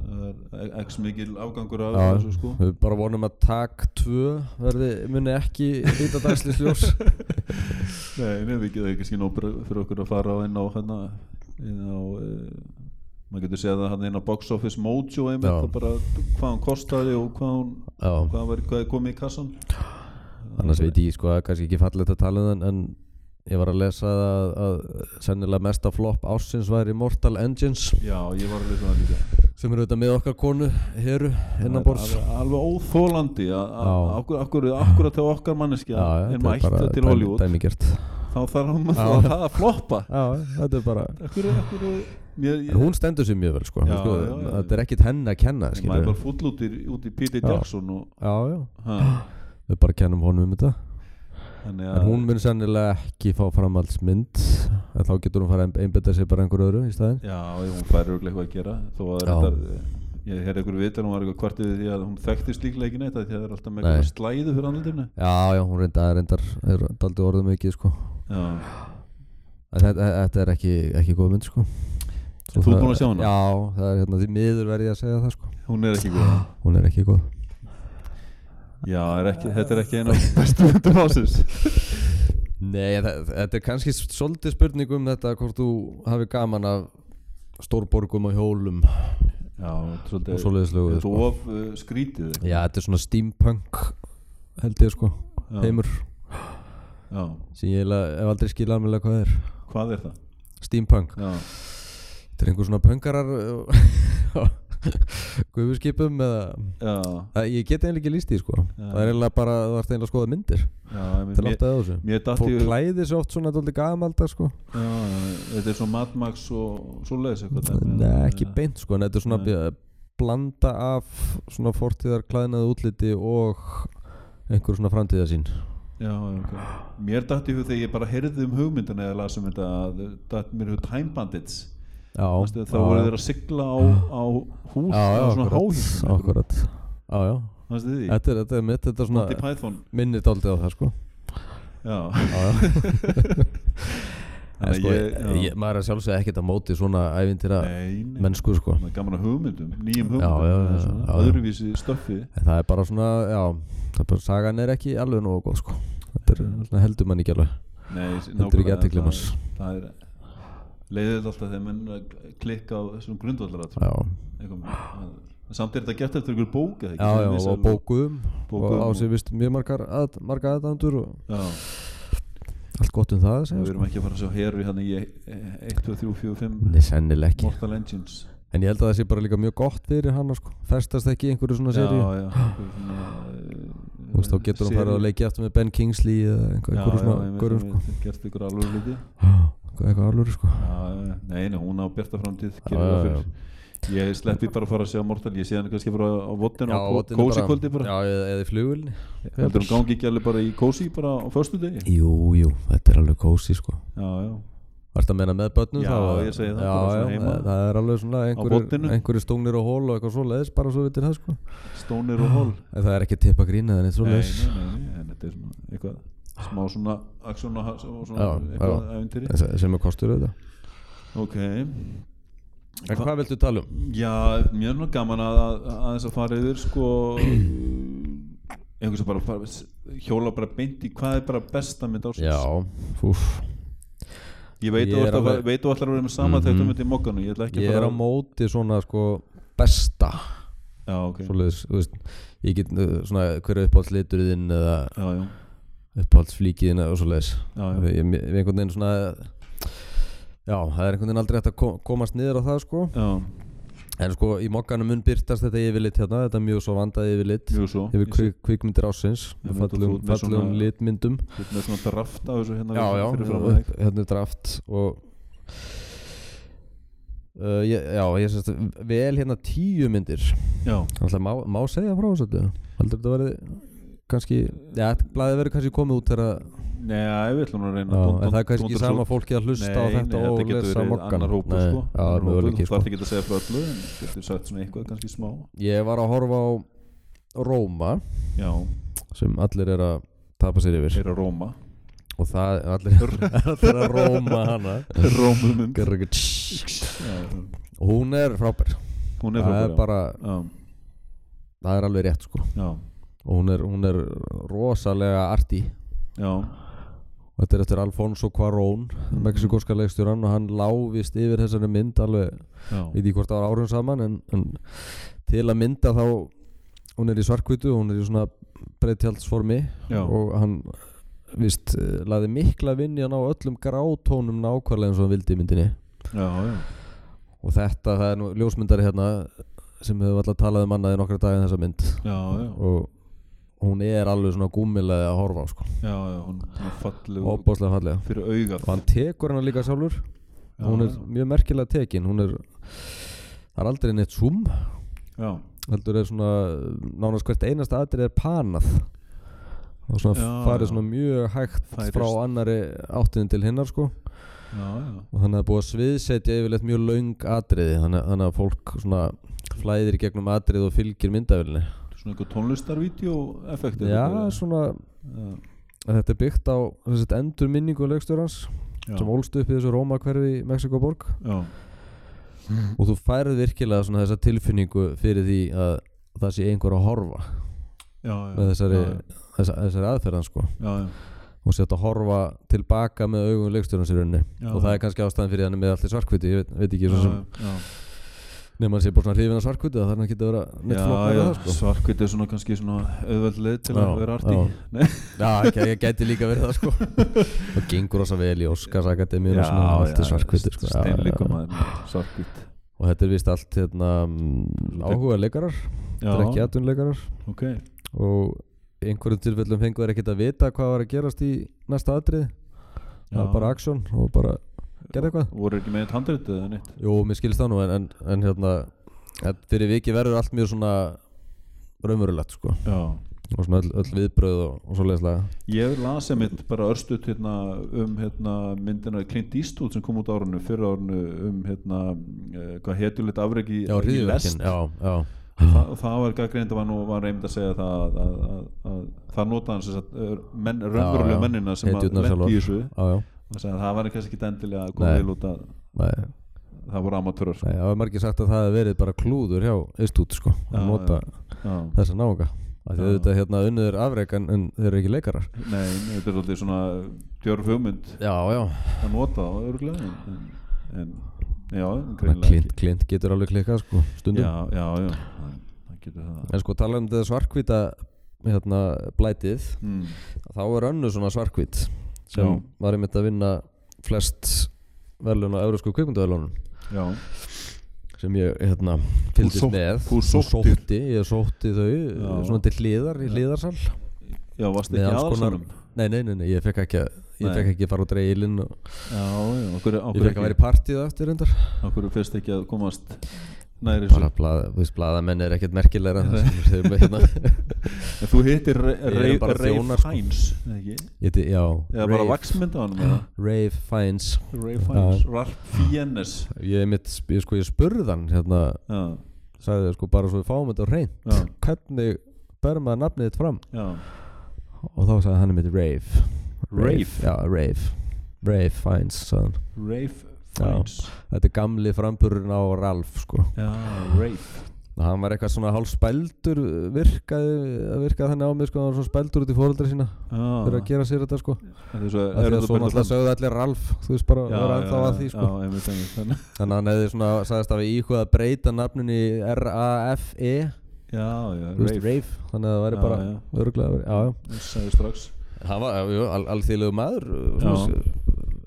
[SPEAKER 1] það er x mikil afgangur af
[SPEAKER 2] Já,
[SPEAKER 1] þessu sko
[SPEAKER 2] við bara vonum að tak 2 verði, muni ekki líta dagslisljós
[SPEAKER 1] nei, nei, við getum ekki skinn óbra fyrir okkur að fara á inn á hérna inn á e, maður getur séð það hann inn á Box Office Mojo einmitt,
[SPEAKER 2] Já.
[SPEAKER 1] það bara hvað hann kostaði og hvað hann
[SPEAKER 2] Já,
[SPEAKER 1] hvað, var, hvað er komið í kassan
[SPEAKER 2] annars veit ég sko að kannski ekki fallið að tala um það en ég var að lesa að, að sennilega mesta flop ásins væri Mortal Engines
[SPEAKER 1] já, ég var alveg svona líka
[SPEAKER 2] sem eru auðvitað með okkar konu heru
[SPEAKER 1] Það
[SPEAKER 2] innan
[SPEAKER 1] er
[SPEAKER 2] borðs
[SPEAKER 1] alveg, alveg óþólandi að- að-
[SPEAKER 2] Hérna Já.
[SPEAKER 1] að akkur, akkur, akkur til okkar manneski
[SPEAKER 2] Já, já,
[SPEAKER 1] en
[SPEAKER 2] þetta er
[SPEAKER 1] mætt
[SPEAKER 2] bara
[SPEAKER 1] til
[SPEAKER 2] dæmi-
[SPEAKER 1] Hollywood
[SPEAKER 2] dæmigert
[SPEAKER 1] þá þá þarf hann
[SPEAKER 2] Já.
[SPEAKER 1] að það að floppa
[SPEAKER 2] já, þetta er bara
[SPEAKER 1] akkur, akkur, mér,
[SPEAKER 2] en hún stendur sér mjög vel sko
[SPEAKER 1] Já,
[SPEAKER 2] sko,
[SPEAKER 1] já, já.
[SPEAKER 2] þetta er ekkit henni að kenna
[SPEAKER 1] ég, maður er
[SPEAKER 2] skilur.
[SPEAKER 1] bara full út í, út í Peter
[SPEAKER 2] Já.
[SPEAKER 1] Jackson og,
[SPEAKER 2] já, já,
[SPEAKER 1] ha,
[SPEAKER 2] <gasps> við bara kennum honum um þetta
[SPEAKER 1] þannig
[SPEAKER 2] en
[SPEAKER 1] að
[SPEAKER 2] hún mun sennilega ekki fá framhaldsmynd en þá getur hún fara að einbetta sér bara einhver öðru í staðin
[SPEAKER 1] já, hún fær örugglega eitthvað að gera þó að
[SPEAKER 2] Já.
[SPEAKER 1] þetta ég heyrði einhver vital, hún var eitthvað kvartið við því að hún þekktist líklega ekki neitt af því að það er alltaf með
[SPEAKER 2] Nei.
[SPEAKER 1] eitthvað slæðu fyrir andlutinu
[SPEAKER 2] já, já, hún reyndar, reyndar er daldi orðum ekki sko
[SPEAKER 1] já,
[SPEAKER 2] En Þetta, þetta er ekki, ekki góð mynd sko
[SPEAKER 1] En þú ert búin að sjá hana?
[SPEAKER 2] Já, það er hérna því miður verði ég að segja það sko
[SPEAKER 1] hún er ekki góð
[SPEAKER 2] Hún er ekki góð
[SPEAKER 1] já, er ekki, þetta er ekki eina
[SPEAKER 2] <laughs>
[SPEAKER 1] af bestu myndum ásins
[SPEAKER 2] Nei, það, þetta er kannski svolítið spurning um þetta hvort þú hafi gaman af stórborgum og hjólum
[SPEAKER 1] já,
[SPEAKER 2] og
[SPEAKER 1] svolítið
[SPEAKER 2] svoleiðislegu
[SPEAKER 1] þetta
[SPEAKER 2] sko.
[SPEAKER 1] of uh, skrítið eitthvað.
[SPEAKER 2] Já, þetta er svona steampunk held ég sko,
[SPEAKER 1] Já,
[SPEAKER 2] heimur
[SPEAKER 1] já,
[SPEAKER 2] sem ég eiginlega hef aldrei skil alveg hvað það er
[SPEAKER 1] hvað er það?
[SPEAKER 2] steampunk,
[SPEAKER 1] já,
[SPEAKER 2] þetta er einhver svona punkarar eh, <laughs> gufuskipum eða
[SPEAKER 1] já,
[SPEAKER 2] Það, ég get eiginlega ekki líst því sko
[SPEAKER 1] Já.
[SPEAKER 2] Það er eiginlega bara, það var eiginlega að skoða myndir
[SPEAKER 1] já, ég
[SPEAKER 2] til
[SPEAKER 1] meina,
[SPEAKER 2] átt að þessu
[SPEAKER 1] mér datt
[SPEAKER 2] Fólk
[SPEAKER 1] í
[SPEAKER 2] klæði sér oft svona dálítið gamaldag sko
[SPEAKER 1] Já, já, þetta er svo Mad Max og svo leiðis eitthvað dæmi, eh,
[SPEAKER 2] Nei,
[SPEAKER 1] eða-
[SPEAKER 2] ekki beint sko En þetta er svona
[SPEAKER 1] Nei.
[SPEAKER 2] bj- blanda af svona fortíðar klæðnaði útliti og einhver svona framtíðasín
[SPEAKER 1] Já, já, ok Mér datt í hug þegar ég bara heyrði um hugmyndina eða lasum þetta að datt mér í hug Time Bandits
[SPEAKER 2] Já,
[SPEAKER 1] Manstu, þá
[SPEAKER 2] já,
[SPEAKER 1] voru
[SPEAKER 2] já.
[SPEAKER 1] þeir að sigla á, á hús
[SPEAKER 2] Já, já,
[SPEAKER 1] á svona
[SPEAKER 2] akkurat,
[SPEAKER 1] háhýsum
[SPEAKER 2] akkurat Já, já,
[SPEAKER 1] Manstu því?
[SPEAKER 2] þetta er, þetta er mitt, þetta er
[SPEAKER 1] Monty
[SPEAKER 2] svona
[SPEAKER 1] Python
[SPEAKER 2] minni dálítið á það sko
[SPEAKER 1] Já,
[SPEAKER 2] Já, já En
[SPEAKER 1] Þannig
[SPEAKER 2] sko,
[SPEAKER 1] að ég- já.
[SPEAKER 2] ég, maður er að sjálfsögða ekkert á móti svona ævintýra
[SPEAKER 1] nei, nei
[SPEAKER 2] mennsku sko
[SPEAKER 1] Það er gaman að hugmyndum, nýjum
[SPEAKER 2] Já,
[SPEAKER 1] hugmyndum
[SPEAKER 2] já,
[SPEAKER 1] það er
[SPEAKER 2] já,
[SPEAKER 1] svona
[SPEAKER 2] já, já.
[SPEAKER 1] Öðruvísi stöffi
[SPEAKER 2] En það er bara svona, já, það er bara, sagan er ekki alveg nógu góð, sko. Þetta er svona heldur mann ekki alveg.
[SPEAKER 1] Nei,
[SPEAKER 2] Þetta er ekki
[SPEAKER 1] nákvæmlega,
[SPEAKER 2] aðtekli
[SPEAKER 1] það
[SPEAKER 2] manns.
[SPEAKER 1] er- Það er leiðið alltaf þegar menn eru að klikka á þessum grundvallarat
[SPEAKER 2] Já,
[SPEAKER 1] eitthvað með- en samt er þetta gert eftir einhver bók eða ekki? Sem
[SPEAKER 2] já, já,
[SPEAKER 1] vísar-
[SPEAKER 2] og bókuðum
[SPEAKER 1] Bókuð
[SPEAKER 2] og á
[SPEAKER 1] um
[SPEAKER 2] sig vist mjög margar, að, margar aðdandur og
[SPEAKER 1] já,
[SPEAKER 2] allt gott um það, að
[SPEAKER 1] við
[SPEAKER 2] segja,
[SPEAKER 1] erum ekki að fara að sjá Harry hann í eh, 1, 2, 3, 4,
[SPEAKER 2] sko.
[SPEAKER 1] 5
[SPEAKER 2] Nei, sennileg ekki.
[SPEAKER 1] Mortal Engines
[SPEAKER 2] En ég held að það sé bara líka mjög gott fyrir hana, sko. Festast ekki í einhverju svona
[SPEAKER 1] já,
[SPEAKER 2] seríu.
[SPEAKER 1] já einhver svona, eh,
[SPEAKER 2] Þú veist, þá getur hún
[SPEAKER 1] seríu.
[SPEAKER 2] farið að leikja aftur með Ben Kingsley eða einhver-
[SPEAKER 1] Já,
[SPEAKER 2] einhverju
[SPEAKER 1] já,
[SPEAKER 2] svona,
[SPEAKER 1] ég veit,
[SPEAKER 2] einhverjum,
[SPEAKER 1] ég
[SPEAKER 2] sko.
[SPEAKER 1] veit, gert ykkur alveg hluti
[SPEAKER 2] Eitthvað- <gasps> Eitthvað alvöru, sko.
[SPEAKER 1] Já, já, nei, nei, hún á bjarta framtíð gerir
[SPEAKER 2] já,
[SPEAKER 1] það
[SPEAKER 2] já.
[SPEAKER 1] fyrir. ég sleppi bara að fara að sjá Mortal ég sé hann kannski bara á vottinu
[SPEAKER 2] Já,
[SPEAKER 1] á
[SPEAKER 2] og þetta er
[SPEAKER 1] kósi kvöldi bara
[SPEAKER 2] Já, eða, eða í flugulni.
[SPEAKER 1] heldur hún gangi ekki alveg bara í kósi bara á föstu degi
[SPEAKER 2] Jú, jú, þetta er alveg kósi, sko.
[SPEAKER 1] já, já,
[SPEAKER 2] Varst að meina með börnum
[SPEAKER 1] Já,
[SPEAKER 2] þá? eða?
[SPEAKER 1] ég segi það,
[SPEAKER 2] já,
[SPEAKER 1] bara svona
[SPEAKER 2] já,
[SPEAKER 1] heima.
[SPEAKER 2] Það er alveg svona
[SPEAKER 1] botninum.
[SPEAKER 2] einhverjir, einhverjir stungnir og hól og eitthvað svo leiðis bara svo vitir það sko
[SPEAKER 1] stónir og hól
[SPEAKER 2] En það er ekki tippa grína þannig svo
[SPEAKER 1] nei,
[SPEAKER 2] leiðis
[SPEAKER 1] nei, nei, nei, en þetta er svona eitthvað smá svona aksjón og og svona
[SPEAKER 2] Já,
[SPEAKER 1] eitthvað
[SPEAKER 2] já.
[SPEAKER 1] ævintýri
[SPEAKER 2] sem er kostur auðvitað
[SPEAKER 1] ok
[SPEAKER 2] En hvað viltu tala um?
[SPEAKER 1] já, mér er nú gaman að að- aðeins að fara yfir sko einhvers að bara fara, hjóla bara beint í hvað er bara besta mynd ásins
[SPEAKER 2] Já, úf
[SPEAKER 1] ég veit
[SPEAKER 2] Ég
[SPEAKER 1] þú
[SPEAKER 2] er
[SPEAKER 1] ætlar að
[SPEAKER 2] alveg-
[SPEAKER 1] fara- veit þú ætlar að vera með sama
[SPEAKER 2] Mhm.
[SPEAKER 1] þegar þú myndir í mokkanu ég ætla ekki
[SPEAKER 2] Ég
[SPEAKER 1] að
[SPEAKER 2] er
[SPEAKER 1] fara
[SPEAKER 2] á móti svona sko besta
[SPEAKER 1] já, ok
[SPEAKER 2] Svo leiðis, þú veist Ég get uh, svona hverja uppáhaldsliturinn eða
[SPEAKER 1] já, já,
[SPEAKER 2] uppáhaldsflíkiðin eða svo leiðis
[SPEAKER 1] já, já.
[SPEAKER 2] Við við einhvern veginn svona Já, það er einhvern veginn aldrei hægt að ko- komast niður á það sko
[SPEAKER 1] já
[SPEAKER 2] En sko í mokkanum mun byrtast þetta yfirlit hérna, þetta er mjög svo vandað yfirlit
[SPEAKER 1] jú svo
[SPEAKER 2] yfir
[SPEAKER 1] Ég sé-
[SPEAKER 2] kvik, kvikmyndir ásins
[SPEAKER 1] Ég veit að þú
[SPEAKER 2] fallegum,
[SPEAKER 1] ert með
[SPEAKER 2] fallegum
[SPEAKER 1] svona-
[SPEAKER 2] litmyndum
[SPEAKER 1] þú ert með svona draft af þessu hérna
[SPEAKER 2] já, já,
[SPEAKER 1] fyrir fram
[SPEAKER 2] upp, hérna er draft og uh, ég, já, ég sérst vel hérna tíu myndir
[SPEAKER 1] já,
[SPEAKER 2] alltaf má, má segja frá þessu öllu? heldur þetta verið kannski já, blæði verið kannski komið út þegar að-
[SPEAKER 1] neða, við ætlum að reyna
[SPEAKER 2] já,
[SPEAKER 1] að dúnda-
[SPEAKER 2] en það er kannski
[SPEAKER 1] dúnda svo-
[SPEAKER 2] ekki sama fólki að hlusta á
[SPEAKER 1] Nei,
[SPEAKER 2] þetta
[SPEAKER 1] nei,
[SPEAKER 2] og
[SPEAKER 1] getur
[SPEAKER 2] lesa
[SPEAKER 1] verið
[SPEAKER 2] mokkan
[SPEAKER 1] annar hópur sko
[SPEAKER 2] já,
[SPEAKER 1] Annar
[SPEAKER 2] annar
[SPEAKER 1] hópur,
[SPEAKER 2] möguleiki
[SPEAKER 1] þú
[SPEAKER 2] sko
[SPEAKER 1] þarf ekki að segja frá öllu en getur sagt svona eitthvað kannski smá
[SPEAKER 2] ég var að horfa á Róma
[SPEAKER 1] já,
[SPEAKER 2] sem allir er að tapa sér yfir
[SPEAKER 1] er að Róma
[SPEAKER 2] og það allir, allir að róma hana
[SPEAKER 1] <laughs> Rómumund
[SPEAKER 2] Gerðu ekki tss. og hún er frábær
[SPEAKER 1] hún er
[SPEAKER 2] það
[SPEAKER 1] frábær,
[SPEAKER 2] er
[SPEAKER 1] já.
[SPEAKER 2] bara,
[SPEAKER 1] já,
[SPEAKER 2] það er alveg rétt sko
[SPEAKER 1] já,
[SPEAKER 2] og hún er, hún er rosalega arti
[SPEAKER 1] já,
[SPEAKER 2] og þetta er eftir Alfonso Cuarón mexikoska leikstjóran og hann láfist yfir þessari mynd alveg,
[SPEAKER 1] já,
[SPEAKER 2] við því hvort það var árum saman en, en til að mynda þá hún er í svarkvítu, hún er í svona breytjaldsformi
[SPEAKER 1] já,
[SPEAKER 2] og hann vist, eh, laði mikla vinni að ná öllum grátónum nákvæmlega eins og hann vildi í myndinni
[SPEAKER 1] já, já,
[SPEAKER 2] og þetta, það er nú ljósmyndari hérna sem hefur alltaf talað um annað í nokkra daga en þessa mynd
[SPEAKER 1] já, já,
[SPEAKER 2] og hún er alveg svona gúmilega að horfa á sko
[SPEAKER 1] já, já, hún er fallið
[SPEAKER 2] Óbáslega fallega
[SPEAKER 1] fyrir augað
[SPEAKER 2] Og hann tekur hana líka sjálfur
[SPEAKER 1] Já,
[SPEAKER 2] Hún er
[SPEAKER 1] já.
[SPEAKER 2] mjög merkilega tekin Hún er Það er aldrei neitt zoom
[SPEAKER 1] já,
[SPEAKER 2] Heldur er svona Nánast hvert einasta aðrið er panað Og svona
[SPEAKER 1] Já,
[SPEAKER 2] farið
[SPEAKER 1] já.
[SPEAKER 2] svona mjög hægt
[SPEAKER 1] Færist.
[SPEAKER 2] Frá annari áttinni til hinnar sko
[SPEAKER 1] já, já,
[SPEAKER 2] Og þannig að búið að sviðsetja yfirleitt mjög löng atriði Þannig, þannig að fólk svona flæðir í gegnum atrið og fylgir myndavilni
[SPEAKER 1] svona einhver tónlistarvídeó effekti
[SPEAKER 2] Já, svona Þetta er byggt á þessi, endur minningu leikstjórans
[SPEAKER 1] já,
[SPEAKER 2] sem ólst upp í þessu Róma hverfi í Mexikoborg
[SPEAKER 1] já, Mhm.
[SPEAKER 2] og þú færð virkilega svona þessa tilfinningu fyrir því að það sé einhver að horfa
[SPEAKER 1] já,
[SPEAKER 2] með
[SPEAKER 1] já,
[SPEAKER 2] þessari,
[SPEAKER 1] já,
[SPEAKER 2] þessa, þessari aðferðan sko
[SPEAKER 1] já, já,
[SPEAKER 2] og sér að horfa tilbaka með augum leikstjórans í rauninni
[SPEAKER 1] já,
[SPEAKER 2] og það er kannski ástæðan fyrir hann er með allt í svarkviti ég veit, veit ekki svo sem
[SPEAKER 1] já, já.
[SPEAKER 2] nema hann sé bara svona hrifin af svarkviti það þarf hann að geta að vera neitt
[SPEAKER 1] Já,
[SPEAKER 2] flokkar
[SPEAKER 1] já,
[SPEAKER 2] það sko
[SPEAKER 1] svarkvít er svona kannski svona auðveld leið til að
[SPEAKER 2] Já,
[SPEAKER 1] vera <laughs> arti
[SPEAKER 2] já. Já, ekki, ég gæti líka verið það sko <laughs> og gengur þess vel í Óskars Akademíun og svona allt í svarkviti sko Já, já,
[SPEAKER 1] steinleikum
[SPEAKER 2] já.
[SPEAKER 1] maður, svarkvít
[SPEAKER 2] og þetta er vist allt hérna, mm, áhuga leikarar
[SPEAKER 1] Já,
[SPEAKER 2] þetta er ekki atvinnleikarar
[SPEAKER 1] ok,
[SPEAKER 2] og í einhverjum tilfellum fengu þeir ekkert að vita hvað var að gerast í næsta atrið það var
[SPEAKER 1] Já.
[SPEAKER 2] bara aksjón og bara gerði eitthvað
[SPEAKER 1] voru ekki með eitt handrit eða neitt
[SPEAKER 2] jú, mér skilst það nú en, en, en hérna en fyrir viki verður allt mjög svona raumurulegt sko
[SPEAKER 1] Já,
[SPEAKER 2] og svona öll, öll viðbröð og, og svo leiðislega
[SPEAKER 1] Ég lasi mitt bara örstuð hérna, um hérna, myndina Clint Eastwood sem kom út árunnu, fyrra árunnu um hérna, eh, hvað hetjulegt afreg í,
[SPEAKER 2] já,
[SPEAKER 1] í
[SPEAKER 2] hriðverkin, já, já
[SPEAKER 1] Þa, það var gaggrind að var nú var reynd að segja það að, að, að, að það notaði hans að eh, menn, raunverulega
[SPEAKER 2] já.
[SPEAKER 1] mennina sem að
[SPEAKER 2] Hetjurnar
[SPEAKER 1] lendi í
[SPEAKER 2] sjálfar.
[SPEAKER 1] þessu
[SPEAKER 2] já, já,
[SPEAKER 1] og segja að það var kannski ekki endilega að
[SPEAKER 2] Nei.
[SPEAKER 1] koma vel út að
[SPEAKER 2] nei,
[SPEAKER 1] það voru amatörur sko.
[SPEAKER 2] nei, það var margir sagt að það hefði verið bara klúður hjá Istút sko,
[SPEAKER 1] Já,
[SPEAKER 2] að nota
[SPEAKER 1] Já,
[SPEAKER 2] þessa náunga að
[SPEAKER 1] Já.
[SPEAKER 2] þið auðvitað hérna unniður afreik en, en þeir eru ekki leikarar
[SPEAKER 1] nei, þetta er alltaf svona djörf hugmynd
[SPEAKER 2] já, já,
[SPEAKER 1] að nota það örgulega en, en, en já, greinlega
[SPEAKER 2] klint, klint getur alveg klikkað sko, stundum
[SPEAKER 1] Já, já, já, það, það getur það
[SPEAKER 2] En sko tala um þetta svarkvita hérna, blætið
[SPEAKER 1] mm.
[SPEAKER 2] þá er önnu svona svarkvít sem
[SPEAKER 1] Já.
[SPEAKER 2] var einmitt að vinna flest verðlun á eurósku kvikmyndaverðlunum
[SPEAKER 1] Já,
[SPEAKER 2] sem ég hérna, fylgist
[SPEAKER 1] sótt-
[SPEAKER 2] með
[SPEAKER 1] þú
[SPEAKER 2] Og
[SPEAKER 1] sóttir.
[SPEAKER 2] sótti, ég sótti þau
[SPEAKER 1] Já.
[SPEAKER 2] svona til hliðar í hliðarsal
[SPEAKER 1] já, varst
[SPEAKER 2] Með
[SPEAKER 1] ekki
[SPEAKER 2] alls konar-
[SPEAKER 1] aðalsanum
[SPEAKER 2] nei, nei, nei, nei, ég fekk ekki að Ég
[SPEAKER 1] Nei.
[SPEAKER 2] fekk ekki að fara út reilinn og
[SPEAKER 1] Já, já, okkur,
[SPEAKER 2] ég
[SPEAKER 1] okkur,
[SPEAKER 2] fekk að
[SPEAKER 1] ekki,
[SPEAKER 2] vera í partíð eftir reyndar
[SPEAKER 1] okkur fyrst ekki að komast næri
[SPEAKER 2] Bara
[SPEAKER 1] þessu
[SPEAKER 2] blaða, þú veist, blaðamenn er ekkert merkilegra en það sem þeir
[SPEAKER 1] <laughs>
[SPEAKER 2] með hérna
[SPEAKER 1] En þú hittir
[SPEAKER 2] Ég er
[SPEAKER 1] Ray
[SPEAKER 2] bara þjónar, sko.
[SPEAKER 1] Fiennes eða ekki?
[SPEAKER 2] Ég heiti- Já,
[SPEAKER 1] Eða bara vaksmynd á hann
[SPEAKER 2] Rave Fiennes
[SPEAKER 1] Ray Fiennes, Ralph Fiennes
[SPEAKER 2] Ég, mitt, ég, sko, ég spurði hann hérna,
[SPEAKER 1] Já,
[SPEAKER 2] sagði þér sko bara svo við fáum þetta á hreint
[SPEAKER 1] Já.
[SPEAKER 2] hvernig ber maður nafnið þitt fram
[SPEAKER 1] já,
[SPEAKER 2] og þá sagði hann mitt Rave
[SPEAKER 1] Rave?
[SPEAKER 2] Já, Rave Rave Fiennes sagði hann
[SPEAKER 1] Ray Fiennes
[SPEAKER 2] Þetta er gamli framburinn á Ralf sko
[SPEAKER 1] Já, Ray
[SPEAKER 2] og hann var eitthvað svona hálf spældur eh, virkaði, virkaði þannig á mig sko hann var svona spældur út í fóreldra sína fyrir að
[SPEAKER 1] Já,
[SPEAKER 2] gera sér þetta sko
[SPEAKER 1] þetta er svo
[SPEAKER 2] af því
[SPEAKER 1] erfitt
[SPEAKER 2] að
[SPEAKER 1] að
[SPEAKER 2] svo
[SPEAKER 1] binda
[SPEAKER 2] náttúrulega
[SPEAKER 1] fram.
[SPEAKER 2] sögðu allir Ralf þú veist bara
[SPEAKER 1] Já,
[SPEAKER 2] var
[SPEAKER 1] já,
[SPEAKER 2] ennþá að því sko
[SPEAKER 1] Já, einmitt, einmitt þannig.
[SPEAKER 2] þannig að hann hefði svona sagðist að við íhugað að breyta nafninu í R-A-F-E
[SPEAKER 1] Já, já,
[SPEAKER 2] E, þú veist,
[SPEAKER 1] Ray
[SPEAKER 2] Rave þannig að það væri
[SPEAKER 1] Já,
[SPEAKER 2] bara
[SPEAKER 1] já.
[SPEAKER 2] öruglega já, já
[SPEAKER 1] Fiennes sagði strax
[SPEAKER 2] Hann var jú, al alþýðlegu maður
[SPEAKER 1] Já.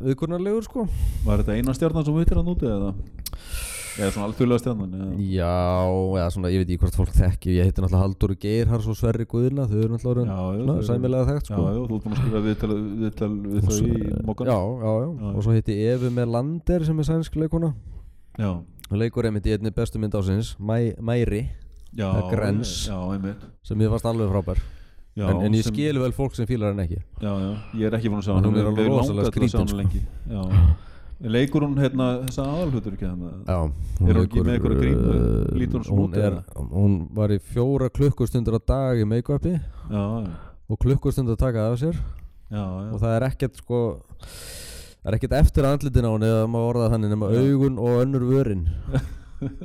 [SPEAKER 2] viðkurnarlegur sko
[SPEAKER 1] Var þetta eina stjarnan sem vittir hann úti eða? Eða svona alþjóðlega stjarnan eða?
[SPEAKER 2] Já, eða svona, ég veit ekki hvort fólk þekki Ég heiti náttúrulega Haldur Geirhars og Sverri Guðina Þau eru náttúrulega orðin,
[SPEAKER 1] Já, já,
[SPEAKER 2] svona,
[SPEAKER 1] þau eru-
[SPEAKER 2] sæmilega þekkt
[SPEAKER 1] Já,
[SPEAKER 2] sko
[SPEAKER 1] já, þú ert búin að skrifa viðtal viðtal við
[SPEAKER 2] Og
[SPEAKER 1] þau
[SPEAKER 2] svo-
[SPEAKER 1] í mokkan
[SPEAKER 2] já, já, já,
[SPEAKER 1] Já.
[SPEAKER 2] og svo heiti Efu Melander sem er sænsk leikona
[SPEAKER 1] já,
[SPEAKER 2] Hún leikur einmitt í einni bestu mynd ásins Mæ, Mæri,
[SPEAKER 1] já
[SPEAKER 2] Það er grens.
[SPEAKER 1] Já, einmitt
[SPEAKER 2] sem ég fast alveg frábær
[SPEAKER 1] já,
[SPEAKER 2] en, en ég
[SPEAKER 1] sem-
[SPEAKER 2] skil vel fólk sem fílar hann ekki
[SPEAKER 1] Já, já, ég er ekki búin að sjá hann
[SPEAKER 2] Hún er alveg rosalega skrítin,
[SPEAKER 1] sko
[SPEAKER 2] sko.
[SPEAKER 1] lengi. Já Leikur hún hérna þessa aðalhutur ekki hérna?
[SPEAKER 2] Já,
[SPEAKER 1] Er hún ekki með einhverja grímu? Lítur hún svona
[SPEAKER 2] uh, hún,
[SPEAKER 1] út,
[SPEAKER 2] er, hún var í fjóra klukkustundur á dag í make-upi
[SPEAKER 1] Já, já,
[SPEAKER 2] og klukkustund að taka það af sér
[SPEAKER 1] já,
[SPEAKER 2] og
[SPEAKER 1] já
[SPEAKER 2] það er ekkert sko það er ekkert eftir andlitin á henni eða maður orðað þannig nema augun og önnur vörin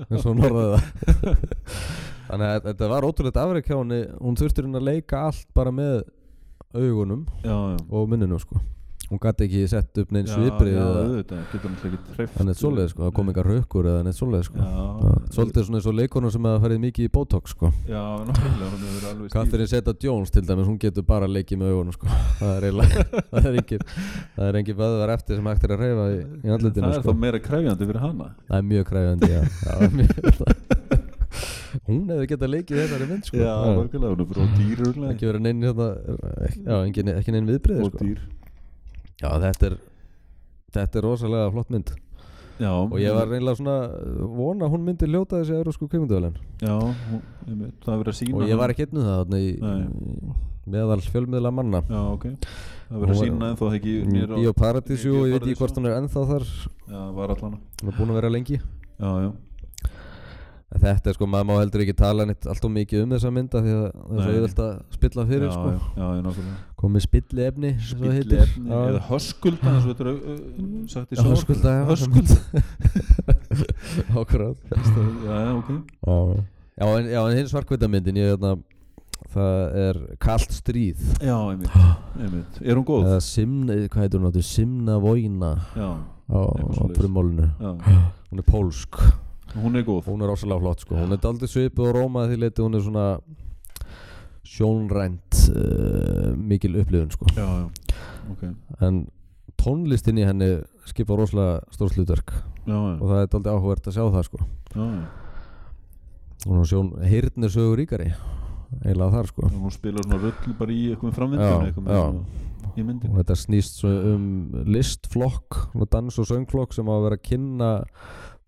[SPEAKER 2] eins og hún orðaði það
[SPEAKER 1] <laughs>
[SPEAKER 2] þannig að þetta var ótrúlegt afreik hjá henni hún þurftur henni að leika allt bara með augunum
[SPEAKER 1] Já, já
[SPEAKER 2] og minninu sko hún gæti ekki sett upp neinn
[SPEAKER 1] Já,
[SPEAKER 2] sviprið
[SPEAKER 1] Já,
[SPEAKER 2] eða
[SPEAKER 1] auðvitað, getur hann ekki treyft
[SPEAKER 2] þannig að svoleiði sko, það kom engar rökkur eða neitt svoleiði sko
[SPEAKER 1] Já,
[SPEAKER 2] Það- svolítið svona eins og leikonum sem hafa farið mikið í botox sko
[SPEAKER 1] já, náttúrulega, hún hefur alveg stíf
[SPEAKER 2] Catherine Zeta Jones til dæmis, hún getur bara leikið með augunum sko. <laughs> það er eiginlega það er engin, það er engin vöðvar eftir sem hægt er að reyfa í, í andlutinu
[SPEAKER 1] Það er <laughs>
[SPEAKER 2] sko.
[SPEAKER 1] þá meira krefjandi fyrir hana
[SPEAKER 2] það er mjög kræfandi já. Já, það er mjög, <laughs> hún hefði getað leikið þessari mynd sko.
[SPEAKER 1] já, nákvæmlega, hún er bara dýr
[SPEAKER 2] Það
[SPEAKER 1] örugglega.
[SPEAKER 2] ekki verið neinn hérna, já, engin, ekki neinn viðbrið
[SPEAKER 1] og
[SPEAKER 2] sko.
[SPEAKER 1] dýr
[SPEAKER 2] Já, þetta er þetta er rosalega flott mynd
[SPEAKER 1] já,
[SPEAKER 2] og ég var reynilega svona uh, vona að hún myndi ljóta þessi eurósku kveimunduvelin
[SPEAKER 1] já, hún, einmitt, það er verið að sína
[SPEAKER 2] og ég var ekki einnum það þarna í,
[SPEAKER 1] Nei.
[SPEAKER 2] í- meðal fjölmiðla manna
[SPEAKER 1] já, ok, það er verið að
[SPEAKER 2] Hún var-
[SPEAKER 1] sína en þó ekki nýra
[SPEAKER 2] Bíó Paradísu
[SPEAKER 1] Bíó
[SPEAKER 2] og ég veit ekki
[SPEAKER 1] Paradísu.
[SPEAKER 2] hvort hún er ennþá þar hún
[SPEAKER 1] já, var allan
[SPEAKER 2] er búin að vera lengi
[SPEAKER 1] já, já,
[SPEAKER 2] En Þetta er sko, maður má heldur ekki tala neitt alltof mikið um þessa mynda því að það er svo
[SPEAKER 1] Nei.
[SPEAKER 2] auðvelt að spilla
[SPEAKER 1] já,
[SPEAKER 2] fyrir sko.
[SPEAKER 1] já, já, já, nákvæmlega
[SPEAKER 2] komið spilli efni
[SPEAKER 1] Spilli efni eða höskulda eins og þetta er uh, uh, sagt í
[SPEAKER 2] Já,
[SPEAKER 1] sjónvarpinu.
[SPEAKER 2] höskulda, já.
[SPEAKER 1] höskulda
[SPEAKER 2] <laughs> Akkurát
[SPEAKER 1] já, já, ok
[SPEAKER 2] Já, já, en, já, en hinn svarkvitamyndin ég, hérna, Það er Kalt stríð
[SPEAKER 1] já, einmitt, einmitt. er hún góð?
[SPEAKER 2] Eða simna, hvað heitir hún áttu? Simna Vojna
[SPEAKER 1] já,
[SPEAKER 2] á,
[SPEAKER 1] Eitthvað
[SPEAKER 2] á
[SPEAKER 1] svoleiðis.
[SPEAKER 2] frummálinu
[SPEAKER 1] já,
[SPEAKER 2] Hún er pólsk
[SPEAKER 1] hún er góð
[SPEAKER 2] Hún er rosalega flott sko Hún er daldið svipuð og róma að því leiti Hún er svona sjónrænt uh, mikil upplifun sko
[SPEAKER 1] já, já, ok
[SPEAKER 2] En tónlistin í henni skipa rosalega stór slutverk
[SPEAKER 1] já, já,
[SPEAKER 2] og það er daldið áhugavert að sjá það sko
[SPEAKER 1] já, já.
[SPEAKER 2] Hún er sjón hirtni sögur ríkari eiginlega þar sko
[SPEAKER 1] hún spilar svona röll bara í eitthvað
[SPEAKER 2] Já,
[SPEAKER 1] framvindun eitthvað með
[SPEAKER 2] já.
[SPEAKER 1] svona í myndin
[SPEAKER 2] og þetta snýst svo um listflokk og dans- og söngflokk sem á að vera að kynna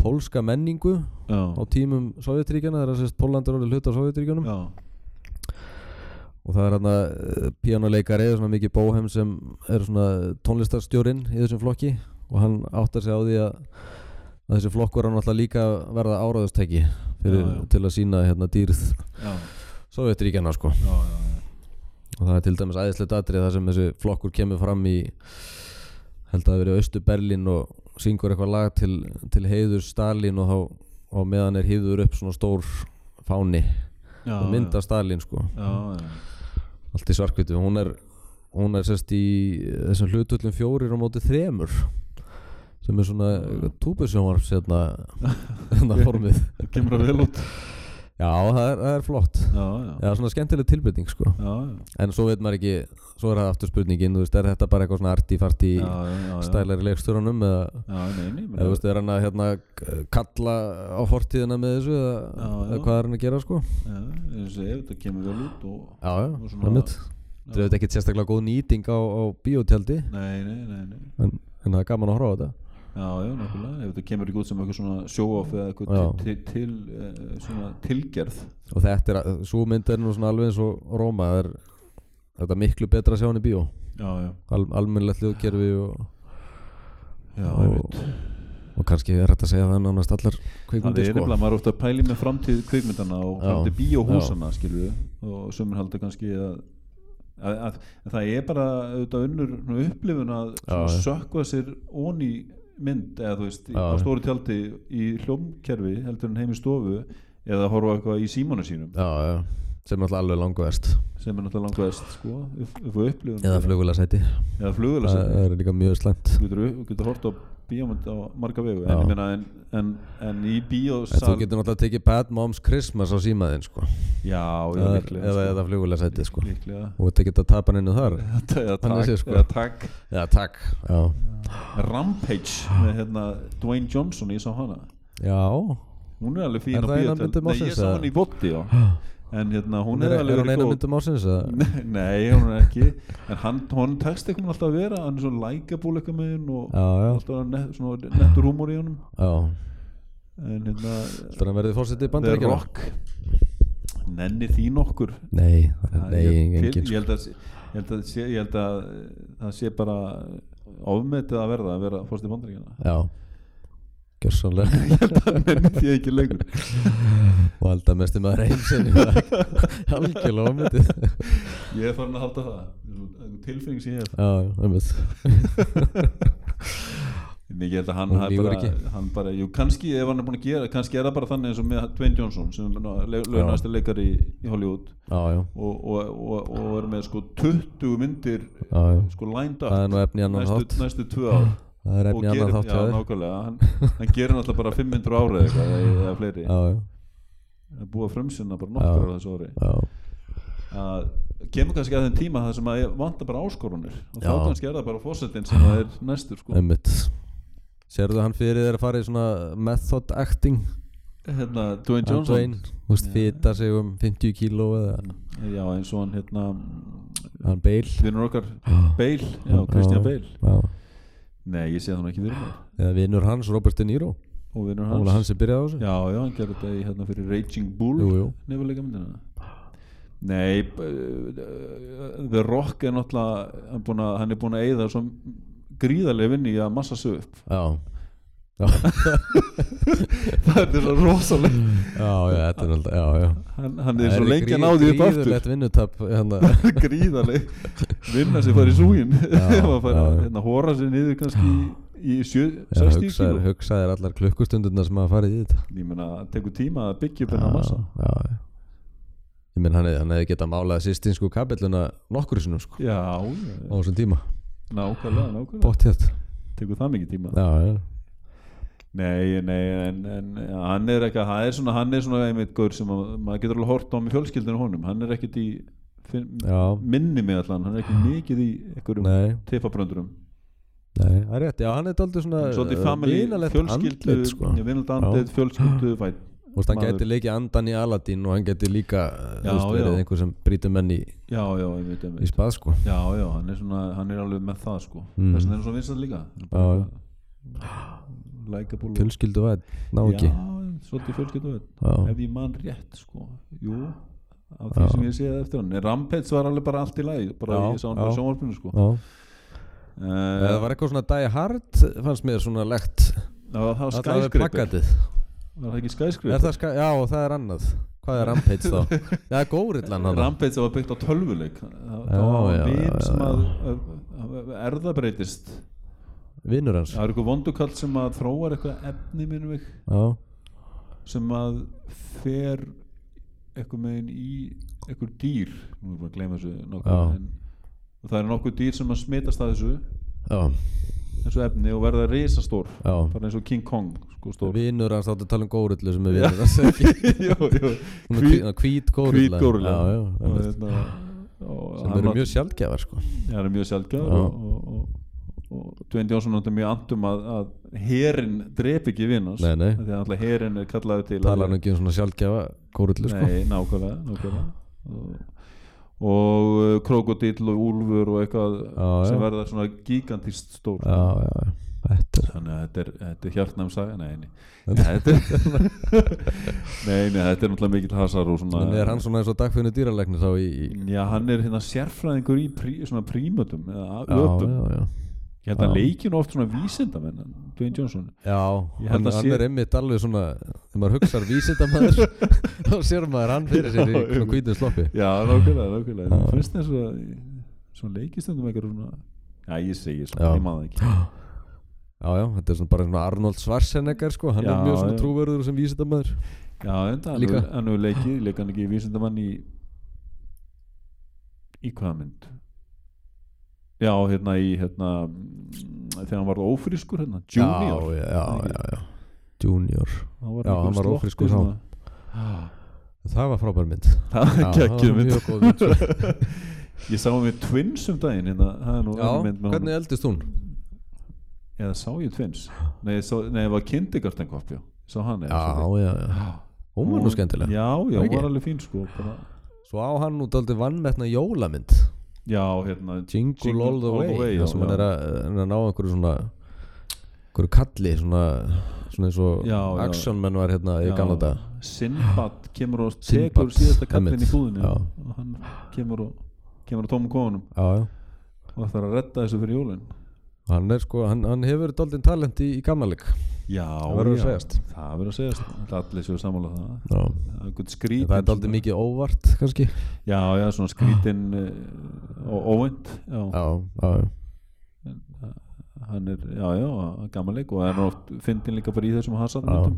[SPEAKER 2] pólska menningu
[SPEAKER 1] já,
[SPEAKER 2] á tímum Sovjetríkjana þegar sérst Pólland er orðið hluti á Sovjetríkjunum
[SPEAKER 1] já,
[SPEAKER 2] og það er hann að píjánuleikari svona mikið bóhem sem er svona tónlistarstjórinn í þessum flokki og hann áttar sig á því að að þessi flokkur hann alltaf líka að verða áraðustæki fyrir,
[SPEAKER 1] Já, já.
[SPEAKER 2] til að sína hérna dýrð
[SPEAKER 1] já,
[SPEAKER 2] Sovjetríkjana sko
[SPEAKER 1] já, já, já.
[SPEAKER 2] og það er til dæmis æðislegt atrið þar sem þessi flokkur kemur fram í held að það verið Östu Berlín og syngur eitthvað lag til, til heiður Stalin og þá og meðan er hýður upp svona stór fáni
[SPEAKER 1] já
[SPEAKER 2] og mynda Stalin sko
[SPEAKER 1] já, já,
[SPEAKER 2] allt í svarkvitu, hún er hún er sérst í þessum hlutullum fjórir á móti þremur sem er svona
[SPEAKER 1] Ah.
[SPEAKER 2] túbusjónvarps hérna,
[SPEAKER 1] <laughs>
[SPEAKER 2] hérna formið
[SPEAKER 1] það kemur að vel út
[SPEAKER 2] já, það er, það er flott
[SPEAKER 1] já, já,
[SPEAKER 2] já, svona skemmtileg tilbreyting sko
[SPEAKER 1] já, já,
[SPEAKER 2] En svo veit maður ekki, svo er það aftur spurningin, þú veist, er þetta bara eitthvað svona arti-farti
[SPEAKER 1] já, já, já.
[SPEAKER 2] stælar í leikstjóranum eða,
[SPEAKER 1] já, nei, nei,
[SPEAKER 2] eða þú
[SPEAKER 1] menn,
[SPEAKER 2] veist, er hann að hérna k- kalla á fortíðina með þessu eða,
[SPEAKER 1] Já, já.
[SPEAKER 2] eða hvað er hann að gera sko?
[SPEAKER 1] já, eins og ef þetta kemur vel út og
[SPEAKER 2] Já, já,
[SPEAKER 1] Og svona-
[SPEAKER 2] það mitt. Þetta er auðvitað ekkert sérstaklega góð nýting á, á bíótjaldi,
[SPEAKER 1] nei, nei, nei, nei
[SPEAKER 2] en, en það er gaman að horfa á þetta.
[SPEAKER 1] Já, já, nákvæmlega, ef þetta kemur ekki út sem eitthvað svona show-off eða eitthvað
[SPEAKER 2] Já.
[SPEAKER 1] til, til, til eh, svona tilgerð
[SPEAKER 2] Og þetta er, að- sú mynd er nú svona alveg eins og Róma, það er, þetta er miklu betra að sjá hann í bíó.
[SPEAKER 1] Já, já,
[SPEAKER 2] Al, almennlegt hljóðkerfi og,
[SPEAKER 1] já, ég
[SPEAKER 2] og,
[SPEAKER 1] veit
[SPEAKER 2] og kannski er hægt að segja það nánast allar
[SPEAKER 1] Það
[SPEAKER 2] kvikmyndir
[SPEAKER 1] er nefnilega, maður er ofta að pæli með framtíð kvikmyndana og
[SPEAKER 2] sko. Já.
[SPEAKER 1] framtíð bíóhúsana, skilur við og sömur halda kannski að, að, að, að það er bara auðvitað unnur svona upplifun að
[SPEAKER 2] Já,
[SPEAKER 1] svona
[SPEAKER 2] já.
[SPEAKER 1] sökva sér ón í mynd eða þú veist, í-
[SPEAKER 2] Já,
[SPEAKER 1] á
[SPEAKER 2] já.
[SPEAKER 1] stóru tjaldi í hljómkerfi, heldur en heim í stofu eða horfa á eitthvað í símónu sínum
[SPEAKER 2] Já, já, sem er alltaf alveg langverst
[SPEAKER 1] sem er náttúrulega langvest, sko, upp, upp á upplifun
[SPEAKER 2] Eða flugulasæti
[SPEAKER 1] eða flugulega
[SPEAKER 2] Það það er líka mjög slæmt
[SPEAKER 1] þú getur, þú getur hort á bíómynd á marga vegu
[SPEAKER 2] Já.
[SPEAKER 1] en, ég meina, en, en, en í
[SPEAKER 2] En Þú
[SPEAKER 1] bíósal
[SPEAKER 2] getur náttúrulega tekið Bad Moms Christmas á símaðinn sko.
[SPEAKER 1] já, já,
[SPEAKER 2] eða,
[SPEAKER 1] líklega
[SPEAKER 2] eða,
[SPEAKER 1] sko.
[SPEAKER 2] eða flugulasæti sko.
[SPEAKER 1] líklega
[SPEAKER 2] Og þetta getur að tapa hennu þar
[SPEAKER 1] Þetta- eða
[SPEAKER 2] Þannig
[SPEAKER 1] takk,
[SPEAKER 2] séð, sko.
[SPEAKER 1] eða takk
[SPEAKER 2] Já, takk Já, Ah.
[SPEAKER 1] Rampage með hérna Dwayne Johnson, ég sá hana
[SPEAKER 2] já.
[SPEAKER 1] hún er alveg
[SPEAKER 2] Er
[SPEAKER 1] fín á
[SPEAKER 2] það eina
[SPEAKER 1] bíótel
[SPEAKER 2] myndin
[SPEAKER 1] nei, ég
[SPEAKER 2] ásins,
[SPEAKER 1] sá
[SPEAKER 2] eða? Ah.
[SPEAKER 1] hana í Votti en hérna, hún
[SPEAKER 2] Er,
[SPEAKER 1] er
[SPEAKER 2] er
[SPEAKER 1] alveg
[SPEAKER 2] hann eina
[SPEAKER 1] verið góð Mm.
[SPEAKER 2] myndum ásins?
[SPEAKER 1] <laughs>
[SPEAKER 2] eða?
[SPEAKER 1] nei, hún er ekki en hann, hann tekst eitthvað alltaf að vera hann er svo likeable eitthvað með henn og
[SPEAKER 2] Já, já,
[SPEAKER 1] alltaf net, svona, nettur húmór í honum
[SPEAKER 2] já
[SPEAKER 1] en hérna,
[SPEAKER 2] Þannig að hann verði fórsetið í
[SPEAKER 1] The
[SPEAKER 2] bandaríkjana
[SPEAKER 1] Rock nenni þín okkur
[SPEAKER 2] Nei, nei,
[SPEAKER 1] ég,
[SPEAKER 2] engin
[SPEAKER 1] ég,
[SPEAKER 2] sko.
[SPEAKER 1] held að, sé- ég, held að, sé- ég held að eh, það sé bara ofmetið að verða að vera fórstu <laughs> bandaríkjana
[SPEAKER 2] Já Gjörsanlega
[SPEAKER 1] <laughs> menn því ekki lengur
[SPEAKER 2] Og alltaf mestum að reynsinni
[SPEAKER 1] <laughs>
[SPEAKER 2] Algjörlega ámyndið
[SPEAKER 1] ég er farin að halda það Einhver tilfinning sem ég hef
[SPEAKER 2] Já, umvið
[SPEAKER 1] En ég held að hann,
[SPEAKER 2] Hún
[SPEAKER 1] hafi
[SPEAKER 2] lýgur
[SPEAKER 1] bara,
[SPEAKER 2] ekki.
[SPEAKER 1] hann bara jú, kannski ef hann er búin að gera kannski er það bara þannig eins og með Dwayne Johnson sem er launastir leikari í, í Hollywood
[SPEAKER 2] Já, já,
[SPEAKER 1] og, og, og, og er með sko 20 myndir
[SPEAKER 2] já, já
[SPEAKER 1] sko lined
[SPEAKER 2] Það
[SPEAKER 1] up
[SPEAKER 2] er nú efni í annan þátt
[SPEAKER 1] næstu, næstu tvö ár
[SPEAKER 2] Það
[SPEAKER 1] og
[SPEAKER 2] er efni í
[SPEAKER 1] gerir,
[SPEAKER 2] annan þátt
[SPEAKER 1] já,
[SPEAKER 2] hjá þér
[SPEAKER 1] nákvæmlega, hann, hann gerir náttúrulega bara 500 ára eitthvað eða, eða fleiri
[SPEAKER 2] Já, já,
[SPEAKER 1] að búa frumsynna bara nokkur á þessu ári
[SPEAKER 2] já
[SPEAKER 1] að kemur kannski að þeim tíma það sem að ég vantar bara áskorunir og þá
[SPEAKER 2] Já.
[SPEAKER 1] kannski er það bara fórsetin sem að er næstur sko.
[SPEAKER 2] Einmitt Sérðu hann fyrir þér að fara í svona method acting
[SPEAKER 1] hérna, Dwayne Johnson
[SPEAKER 2] Dwayne, þú veist,
[SPEAKER 1] Já.
[SPEAKER 2] fita sig um 50 kíló eða
[SPEAKER 1] Já, eins og hann hérna
[SPEAKER 2] hann beil
[SPEAKER 1] vinnur okkar
[SPEAKER 2] Já,
[SPEAKER 1] Bale, já, Christian Bale
[SPEAKER 2] já.
[SPEAKER 1] Nei, ég sé það nú ekki fyrir mér
[SPEAKER 2] eða vinnur hans, Robert De Niro
[SPEAKER 1] og vinnur
[SPEAKER 2] hann
[SPEAKER 1] hans
[SPEAKER 2] var hann sem byrjaði á þessu
[SPEAKER 1] Já, já, hann gerði þetta í hérna fyrir Raging Bull
[SPEAKER 2] jú, jú.
[SPEAKER 1] nefnilega myndina Nei, b- uh, The Rock er náttúrulega hann, búin að, hann er búin að eyða svo gríðarlega vinni í að massa sig upp <laughs>
[SPEAKER 2] Já.
[SPEAKER 1] það er svo rosalega
[SPEAKER 2] já, já, þetta er náttúrulega já, já.
[SPEAKER 1] hann, hann Mm. er svo lengi að ná því upp aftur
[SPEAKER 2] gríðulegt vinnutap
[SPEAKER 1] <laughs>
[SPEAKER 2] hérna.
[SPEAKER 1] gríðarlega vinna sig fara í súgin <laughs>
[SPEAKER 2] Já,
[SPEAKER 1] eða fara
[SPEAKER 2] já, já.
[SPEAKER 1] hérna hóra sig niður kannski í, í sjö,
[SPEAKER 2] Já,
[SPEAKER 1] 60
[SPEAKER 2] hugsaðir,
[SPEAKER 1] kíló
[SPEAKER 2] hugsaðir allar klukkustundurna sem hafa farið í þetta
[SPEAKER 1] ég meina, það tekur tíma að byggja upp
[SPEAKER 2] já,
[SPEAKER 1] hennar massa
[SPEAKER 2] já, já. ég menn hann, hefði- hann hefði getað málað sýstinsku kabelluna nokkur sinnum sko,
[SPEAKER 1] já,
[SPEAKER 2] á
[SPEAKER 1] já,
[SPEAKER 2] þessum tíma
[SPEAKER 1] nákvæmlega, nákvæmlega
[SPEAKER 2] bótt hér
[SPEAKER 1] tekur það mikið tíma
[SPEAKER 2] já, já.
[SPEAKER 1] Nei, nei, en, en hann er ekki hann er svona, hann er svona einmitt gaur sem að, maður getur alveg hort á með fjölskyldinu honum hann er ekkit í finn,
[SPEAKER 2] já,
[SPEAKER 1] minni mig allan, hann er ekki mikið í einhverjum
[SPEAKER 2] nei,
[SPEAKER 1] teifabröndurum
[SPEAKER 2] nei, það er rétt já, hann er daldið svona
[SPEAKER 1] svolítið
[SPEAKER 2] eh,
[SPEAKER 1] family,
[SPEAKER 2] vinalegt
[SPEAKER 1] fjölskyldu
[SPEAKER 2] andlit, sko.
[SPEAKER 1] vinald andlit, fjölskyldu fætt
[SPEAKER 2] Þú veist, hann
[SPEAKER 1] maður.
[SPEAKER 2] gæti leikið andan í Aladdin og hann gæti líka já,
[SPEAKER 1] Já,
[SPEAKER 2] veist, verið
[SPEAKER 1] já.
[SPEAKER 2] einhver sem brýtur menn í,
[SPEAKER 1] já, já, einmitt,
[SPEAKER 2] í
[SPEAKER 1] einmitt
[SPEAKER 2] spað sko.
[SPEAKER 1] já, já, hann er svona, hann er alveg með það sko
[SPEAKER 2] Mm.
[SPEAKER 1] þess að það er svona vinsað líka
[SPEAKER 2] Já, já.
[SPEAKER 1] likeable og-
[SPEAKER 2] fjölskyldu væð, ná ekki
[SPEAKER 1] já, svolítið fjölskyldu veit
[SPEAKER 2] já,
[SPEAKER 1] ef ég man rétt sko jú, af því sem ég séð eftir hann En Rampage var alveg bara allt í lagi bara
[SPEAKER 2] Já,
[SPEAKER 1] ég sá hann
[SPEAKER 2] já.
[SPEAKER 1] bara sjónvarpinu sko
[SPEAKER 2] já.
[SPEAKER 1] Eh,
[SPEAKER 2] það var eitthvað svona Die Hard fannst mér svona legt
[SPEAKER 1] það var, það var
[SPEAKER 2] Alla við
[SPEAKER 1] skæskrippur
[SPEAKER 2] plakatið
[SPEAKER 1] var það ekki
[SPEAKER 2] er
[SPEAKER 1] skæskrippur
[SPEAKER 2] það ska- Já, það er annað Hvað er Rampage
[SPEAKER 1] <laughs>
[SPEAKER 2] þá? Já, górillan hann
[SPEAKER 1] Rampage var byggt á tölvuleik það
[SPEAKER 2] Já,
[SPEAKER 1] það var
[SPEAKER 2] já, já,
[SPEAKER 1] vin
[SPEAKER 2] já,
[SPEAKER 1] sem
[SPEAKER 2] já.
[SPEAKER 1] að að- að erðabreytist
[SPEAKER 2] Vinnur hans
[SPEAKER 1] það er eitthvað vondukall sem að þróar eitthvað efni minnum við
[SPEAKER 2] Já,
[SPEAKER 1] sem að fer eitthvað megin í eitthvað dýr nú erum við að gleyma þessu
[SPEAKER 2] Já.
[SPEAKER 1] nokkuð en, og það er nokkuð dýr sem að smitast að þessu
[SPEAKER 2] já,
[SPEAKER 1] þessu efni og verða risastór
[SPEAKER 2] já
[SPEAKER 1] bara eins og King Kong sko stór
[SPEAKER 2] Vinnur hans þáttu að tala um górillu sem er vinnur hans ekki
[SPEAKER 1] <laughs> Jú, jú.
[SPEAKER 2] Hún
[SPEAKER 1] Hvít-
[SPEAKER 2] er Hvít górilla
[SPEAKER 1] hvít górilla.
[SPEAKER 2] Já, já
[SPEAKER 1] og
[SPEAKER 2] einmitt.
[SPEAKER 1] hérna og
[SPEAKER 2] Sem
[SPEAKER 1] hann
[SPEAKER 2] eru
[SPEAKER 1] var-
[SPEAKER 2] mjög sjaldgjafar sko
[SPEAKER 1] hann er mjög sjálfgjör
[SPEAKER 2] Já.
[SPEAKER 1] og, og, og, og Dwayne Johnson er mjög andum að, að herin drep ekki vinnast
[SPEAKER 2] Nei, nei.
[SPEAKER 1] því að alltaf herin er kallaði til
[SPEAKER 2] Talar
[SPEAKER 1] að-
[SPEAKER 2] hann ekki um svona sjaldgjafa górillu sko
[SPEAKER 1] Nei, nákvæmlega, nákvæmlega. Og, og uh, krokodil og úlfur og eitthvað
[SPEAKER 2] Já, já.
[SPEAKER 1] sem verða svona gigantist stór sko.
[SPEAKER 2] Já, já, já Þetta er
[SPEAKER 1] þannig að þetta er, þetta er hjartnæm saga nei, nei. Nei, þetta er <laughs> nei, nei, þetta er náttúrulega mikill hasar og svona
[SPEAKER 2] En er hann sko. svona eins og dagfinu dýralegni þá í, í...
[SPEAKER 1] Já, hann er hérna sérfræðingur í prí, svona prímötum eða
[SPEAKER 2] Já,
[SPEAKER 1] öpum
[SPEAKER 2] já, já
[SPEAKER 1] Ég held að
[SPEAKER 2] Já.
[SPEAKER 1] leikinu oft svona vísindamenn hann, Dwayne Johnson
[SPEAKER 2] Já,
[SPEAKER 1] Ég
[SPEAKER 2] hann,
[SPEAKER 1] held að
[SPEAKER 2] hann
[SPEAKER 1] sé-
[SPEAKER 2] er einmitt alveg svona þegar maður hugsar vísindamaður
[SPEAKER 1] <laughs>
[SPEAKER 2] þá sér <laughs> maður hann fyrir sér í
[SPEAKER 1] Já,
[SPEAKER 2] svona
[SPEAKER 1] einmitt.
[SPEAKER 2] hvítum sloppi
[SPEAKER 1] Já, nákvæmlega, nákvæmlega
[SPEAKER 2] Já.
[SPEAKER 1] Mér finnst þess að svona leikistundum eitthvað svona Já, ég segi
[SPEAKER 2] Já.
[SPEAKER 1] svona, ég maður ekki
[SPEAKER 2] Já, já, þetta er svona bara svona Arnold Schwarzenegger sko, hann er
[SPEAKER 1] Já,
[SPEAKER 2] mjög svona
[SPEAKER 1] já.
[SPEAKER 2] trúverður sem vísindamaður
[SPEAKER 1] Já, en það
[SPEAKER 2] Líka.
[SPEAKER 1] líka Hann hefur leikið, leika hann ekki vísindamann í í hvaða mynd Já, hérna í hérna mm, þegar hann var ófrískur hérna, Junior
[SPEAKER 2] Já, já, já, já Junior
[SPEAKER 1] hann var einhver
[SPEAKER 2] já, hann var
[SPEAKER 1] slotti
[SPEAKER 2] ófrískur þá.
[SPEAKER 1] svona.
[SPEAKER 2] Það var frábær mynd
[SPEAKER 1] <laughs> Það
[SPEAKER 2] Já,
[SPEAKER 1] er geggjum
[SPEAKER 2] það var mjög góð mynd, sko.
[SPEAKER 1] <laughs> mynd Ég sá hann við Twins um daginn hérna, það er nú
[SPEAKER 2] Já,
[SPEAKER 1] önnur mynd með honum.
[SPEAKER 2] hvernig eldist hún?
[SPEAKER 1] eða sá ég Twins nei, ég sá, nei, ég var kindergarten kopjó sá hann eða
[SPEAKER 2] Já,
[SPEAKER 1] svolítið.
[SPEAKER 2] já, já Hún var nú skemmtileg
[SPEAKER 1] já, já,
[SPEAKER 2] Ekki?
[SPEAKER 1] hún var alveg fín sko bara.
[SPEAKER 2] Svo á hann út aldrei vannmetna jólamynd
[SPEAKER 1] já, hérna
[SPEAKER 2] Jingle,
[SPEAKER 1] Jingle
[SPEAKER 2] All the
[SPEAKER 1] All the
[SPEAKER 2] Way,
[SPEAKER 1] Way, já,
[SPEAKER 2] þar sem hann
[SPEAKER 1] já.
[SPEAKER 2] er að, eh, hann er að ná einhverju svona einhverju kalli svona, svona eins og
[SPEAKER 1] Já, já.
[SPEAKER 2] Action Man var hérna í
[SPEAKER 1] já,
[SPEAKER 2] gamla dag
[SPEAKER 1] Sinbad kemur og
[SPEAKER 2] Sinbad,
[SPEAKER 1] tekur síðasta kallin
[SPEAKER 2] einmitt,
[SPEAKER 1] í búðinu
[SPEAKER 2] já.
[SPEAKER 1] og hann kemur og kemur á tómum konum
[SPEAKER 2] Já, já
[SPEAKER 1] og það er að redda þessu fyrir jólin
[SPEAKER 2] Hann er sko, hann, hann hefur daldinn talent í, í gammaleg
[SPEAKER 1] já,
[SPEAKER 2] Það verður að
[SPEAKER 1] já,
[SPEAKER 2] segjast.
[SPEAKER 1] það verður að segjast Það er allir séu sammála um það það
[SPEAKER 2] Já
[SPEAKER 1] er einhvern
[SPEAKER 2] Það er
[SPEAKER 1] skrítin
[SPEAKER 2] daldinn
[SPEAKER 1] svona-
[SPEAKER 2] mikið óvart kannski
[SPEAKER 1] já, já, svona skrítin eh, og óvend já,
[SPEAKER 2] Já, já, já
[SPEAKER 1] hann er, já, já, gammaleg og hann er oft fyndin líka bara í þessum hassan
[SPEAKER 2] Já. En,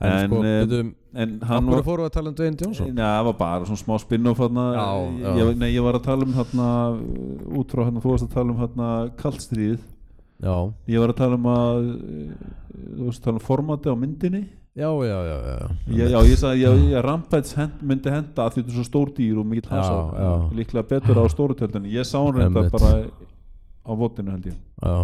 [SPEAKER 1] En,
[SPEAKER 2] sko,
[SPEAKER 1] eh,
[SPEAKER 2] byrjuðum
[SPEAKER 1] en
[SPEAKER 2] Hann
[SPEAKER 1] hann
[SPEAKER 2] var fórum við að tala um Dwayne Johnson
[SPEAKER 1] Nei, það var bara svona smá spin-off hérna,
[SPEAKER 2] Já, já.
[SPEAKER 1] Ég, nei, ég var að tala um hérna út frá hérna, þú varst að tala um hérna kallstríð,
[SPEAKER 2] Já,
[SPEAKER 1] ég var að tala um að eh, þú varst að tala um formati á myndinni
[SPEAKER 2] já, já, já, já, já.
[SPEAKER 1] ég, Já, ég sagði, já, ég Rampage hend, myndi henda af því þetta er svo stór dýr og mikill
[SPEAKER 2] Já,
[SPEAKER 1] hasar
[SPEAKER 2] já.
[SPEAKER 1] líklega
[SPEAKER 2] <clears throat>
[SPEAKER 1] betur á stóru tjöldinni, ég sá hann reynda
[SPEAKER 2] Einmitt.
[SPEAKER 1] bara á votinu held ég
[SPEAKER 2] já.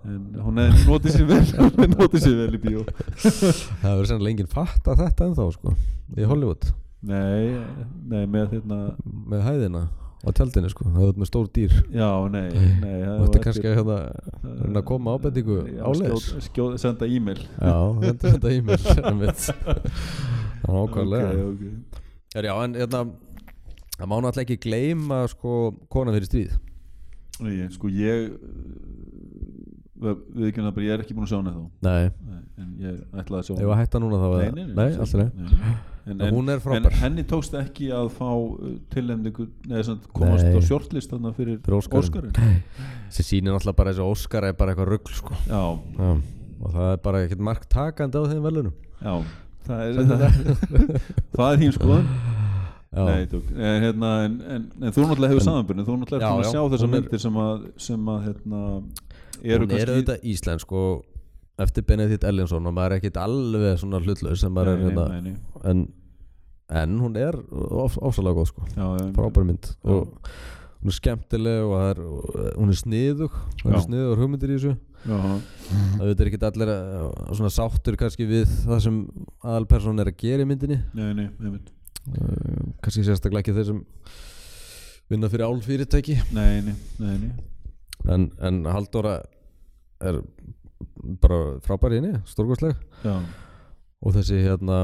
[SPEAKER 1] en hún hefði notið sér vel <laughs> notið sér vel í bíó
[SPEAKER 2] það verður sennilega enginn fatt að þetta ennþá sko í Hollywood
[SPEAKER 1] nei, nei, með hérna
[SPEAKER 2] með hæðina á tjaldinu sko það er með stór dýr
[SPEAKER 1] já, nei, nei
[SPEAKER 2] og þetta er kannski að hérna reyna að koma ábendingu
[SPEAKER 1] Eh,
[SPEAKER 2] áleiðis
[SPEAKER 1] skjóð, senda e-mail
[SPEAKER 2] já, þetta er þetta e-mail
[SPEAKER 1] <laughs>
[SPEAKER 2] einmitt. það er ákvæðlega
[SPEAKER 1] Ok, ok.
[SPEAKER 2] okay. já, en hérna það má náttúrulega ekki gleyma sko kona fyrir stríð
[SPEAKER 1] Nei, sko ég við ekki bara, ég er ekki búin að sjá hana þá
[SPEAKER 2] nei
[SPEAKER 1] Nei, en ég ætlaði að sjá
[SPEAKER 2] ef að hætta núna þá eða- nei alltaf nei
[SPEAKER 1] en,
[SPEAKER 2] En
[SPEAKER 1] en,
[SPEAKER 2] hún er
[SPEAKER 1] en
[SPEAKER 2] frábær
[SPEAKER 1] henni tókst ekki að fá uh, tilnefningu, neða svona komast
[SPEAKER 2] Nei.
[SPEAKER 1] á shortlist þarna fyrir
[SPEAKER 2] Fyrir Óskarinn.
[SPEAKER 1] Óskarinn
[SPEAKER 2] <laughs> sem sýnir náttúrulega bara þessi Óskar er bara eitthvað rugg sko
[SPEAKER 1] já,
[SPEAKER 2] já. og það er bara ekkert mark takandi á þeim velunum
[SPEAKER 1] já
[SPEAKER 2] <laughs>
[SPEAKER 1] það er það, það er <laughs> hím skoðan
[SPEAKER 2] já,
[SPEAKER 1] Nei, tók, en, hérna, en, en, en þú náttúrulega hefur samanbyrni þú náttúrulega
[SPEAKER 2] Já,
[SPEAKER 1] er búin
[SPEAKER 2] já,
[SPEAKER 1] að sjá þessar
[SPEAKER 2] hún er-
[SPEAKER 1] myndir sem að, sem að hérna, eru
[SPEAKER 2] hún er auðvitað íslensk og eftir Benedikt Ellinsson og maður er ekkert alveg svona hlutlaus sem maður er
[SPEAKER 1] nei,
[SPEAKER 2] hérna
[SPEAKER 1] nei, nei,
[SPEAKER 2] en, en hún er of, ofsalega góð sko
[SPEAKER 1] já, já,
[SPEAKER 2] frábær mynd og hún er skemmtileg og, það er, og hún er sniðug hún er
[SPEAKER 1] Já.
[SPEAKER 2] sniðugur hugmyndir í þessu
[SPEAKER 1] já,
[SPEAKER 2] það veitir ekkert allir að- svona sáttur kannski við það sem aðalperson er að gera í myndinni
[SPEAKER 1] nei, nei, nei,
[SPEAKER 2] Eh, kannski sérstaklega ekki þeir sem vinna fyrir álfyrirtæki
[SPEAKER 1] nei, nei, nei, nei.
[SPEAKER 2] en, en Halldóra er bara frábær í henni stórgóðsleg
[SPEAKER 1] Já,
[SPEAKER 2] og þessi hérna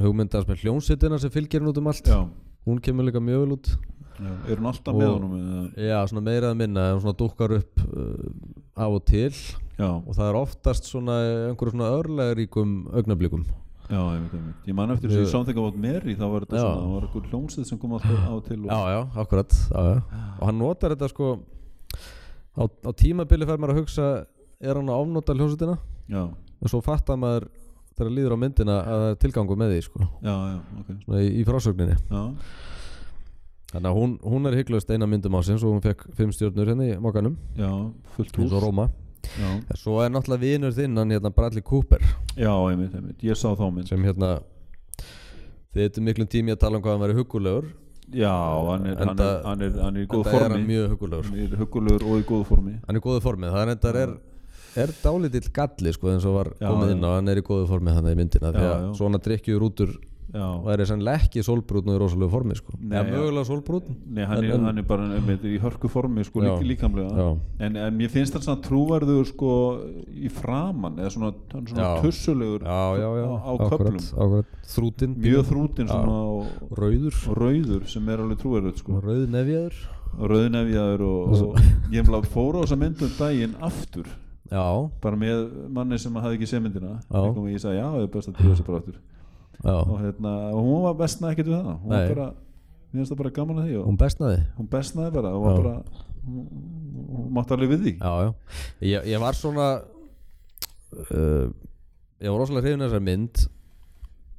[SPEAKER 2] hugmyndast með hljónsittina sem fylgir hún út um allt
[SPEAKER 1] já,
[SPEAKER 2] hún kemur líka mjög vel út
[SPEAKER 1] já. Er hún alltaf
[SPEAKER 2] Og-
[SPEAKER 1] með honum? eða?
[SPEAKER 2] já, svona meirað minna, hún svona dúkkar upp uh, af og til
[SPEAKER 1] Já,
[SPEAKER 2] og það er oftast svona einhverjum svona örlegaríkum augnablikum
[SPEAKER 1] já, ég veit, ég veit Ég man eftir þessu
[SPEAKER 2] Mjög-
[SPEAKER 1] samþengar átt Mary þá var þetta
[SPEAKER 2] Já.
[SPEAKER 1] svona, það var einhver hljómsið sem kom alltaf á til og,
[SPEAKER 2] já, já, akkurat já, já. og hann notar þetta sko á, á tímabili fær maður að hugsa er hann að ofnota hljónsutina
[SPEAKER 1] já,
[SPEAKER 2] en svo fattar maður þegar líður á myndina að það er tilgangu með því sko
[SPEAKER 1] já, já, ok
[SPEAKER 2] svona í, í frásögninni
[SPEAKER 1] Já,
[SPEAKER 2] þannig að hún, hún er hygglust eina myndum ásins og hún fekk fimm stjórnur henni í mokanum
[SPEAKER 1] já, fullt
[SPEAKER 2] eins
[SPEAKER 1] hús
[SPEAKER 2] og Róma
[SPEAKER 1] Já,
[SPEAKER 2] En svo er náttúrulega vinur þinn hann hérna Bradley Cooper
[SPEAKER 1] já, ég veit, ég veit, ég sá þá minn
[SPEAKER 2] sem hérna þið eitthvað miklum tími að tala um hvað hann væri huggulegur
[SPEAKER 1] Já, hann er, hann er,
[SPEAKER 2] Enda-
[SPEAKER 1] hann er, hann er í góð
[SPEAKER 2] þetta er
[SPEAKER 1] formi
[SPEAKER 2] hann mjög huggulegur
[SPEAKER 1] Hann er huggulegur og í góð formi
[SPEAKER 2] hann er í góðu formið, það er endar er er dálítill galli sko eins og var
[SPEAKER 1] Já,
[SPEAKER 2] komið inn á, hann er í góðu formið þannig í myndina því
[SPEAKER 1] Já,
[SPEAKER 2] að
[SPEAKER 1] já.
[SPEAKER 2] svona drikkjur útur
[SPEAKER 1] Já,
[SPEAKER 2] væri sennilega ekki sólbrútn og í rosalega formi sko
[SPEAKER 1] Nei,
[SPEAKER 2] Nei, ja,
[SPEAKER 1] já.
[SPEAKER 2] mögulega sólbrútn
[SPEAKER 1] nei, hann er, hann er bara eh, með, í hörku formi, sko,
[SPEAKER 2] Já.
[SPEAKER 1] lík, líkamlega
[SPEAKER 2] Já.
[SPEAKER 1] En, en mér finnst hann svona trúverður, sko, í framan Eða svona, hann er svona
[SPEAKER 2] Já.
[SPEAKER 1] tussulegur
[SPEAKER 2] já, já, já,
[SPEAKER 1] á, á köflum
[SPEAKER 2] akkurat, akkurat. þrútin,
[SPEAKER 1] mjög þrútin svona og,
[SPEAKER 2] rauður
[SPEAKER 1] og rauður sem er alveg trúverður sko.
[SPEAKER 2] rauðnefjaður
[SPEAKER 1] rauðnefjaður og, og ég mlá fóra á þessa myndum daginn aftur
[SPEAKER 2] já,
[SPEAKER 1] bara með manni sem hafði ekki séð myndina
[SPEAKER 2] Já.
[SPEAKER 1] ég kom og ég sagði já, það er best að trúa þessi bara aftur
[SPEAKER 2] já,
[SPEAKER 1] og hérna, og hún var bestna ekkert við það hún var
[SPEAKER 2] Nei.
[SPEAKER 1] bara, mér finnst það bara gaman að því og
[SPEAKER 2] hún bestnaði
[SPEAKER 1] hún bestnaði bara, hún var
[SPEAKER 2] Já.
[SPEAKER 1] bara hún, hún mátt alveg við því
[SPEAKER 2] já, já, ég, ég var svona uh, ég var rosalega hrifin af þessari mynd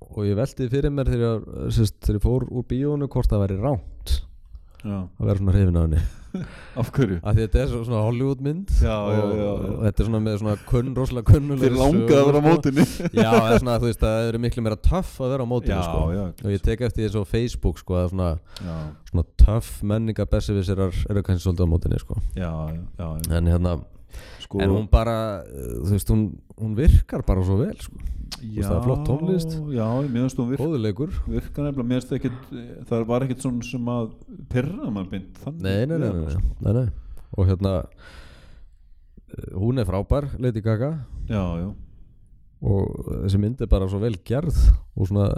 [SPEAKER 2] og ég velti fyrir mér þegar, ég- sérst, þegar ég fór úr bíónu hvort það væri ránt
[SPEAKER 1] já.
[SPEAKER 2] að vera svona hrifin af <laughs> henni
[SPEAKER 1] af hverju?
[SPEAKER 2] að þetta er svo- svona Hollywood mynd
[SPEAKER 1] Já, já,
[SPEAKER 2] og,
[SPEAKER 1] já, já.
[SPEAKER 2] og þetta er svona með svona kunn, rosalega kunnulega
[SPEAKER 1] þér langaði að vera á
[SPEAKER 2] sko.
[SPEAKER 1] mótinni
[SPEAKER 2] já, eða svona þú veist að það eru miklu meira töff að vera á <laughs> mótinu
[SPEAKER 1] Já,
[SPEAKER 2] sko.
[SPEAKER 1] já.
[SPEAKER 2] og ég tek eftir þessu á Facebook sko, að svona,
[SPEAKER 1] já,
[SPEAKER 2] svona töff menninga besservissirar eru kannski svolítið á mótinu sko.
[SPEAKER 1] já, já, já.
[SPEAKER 2] en hérna,
[SPEAKER 1] Sko,
[SPEAKER 2] en hún bara eh, þú veist, hún, hún virkar bara svo vel sko.
[SPEAKER 1] já,
[SPEAKER 2] það er flott tónlist.
[SPEAKER 1] já, mér finnst hún virka
[SPEAKER 2] góðuleikur
[SPEAKER 1] virka nefnilega, mér finnst ekkit það var ekkit svona sem að pyrra mann beint þannig
[SPEAKER 2] nei nei nei, nei, nei, nei, nei. og hérna eh, hún er frábær, Lady Gaga
[SPEAKER 1] já, já,
[SPEAKER 2] og þessi mynd er bara svo vel gerð og svona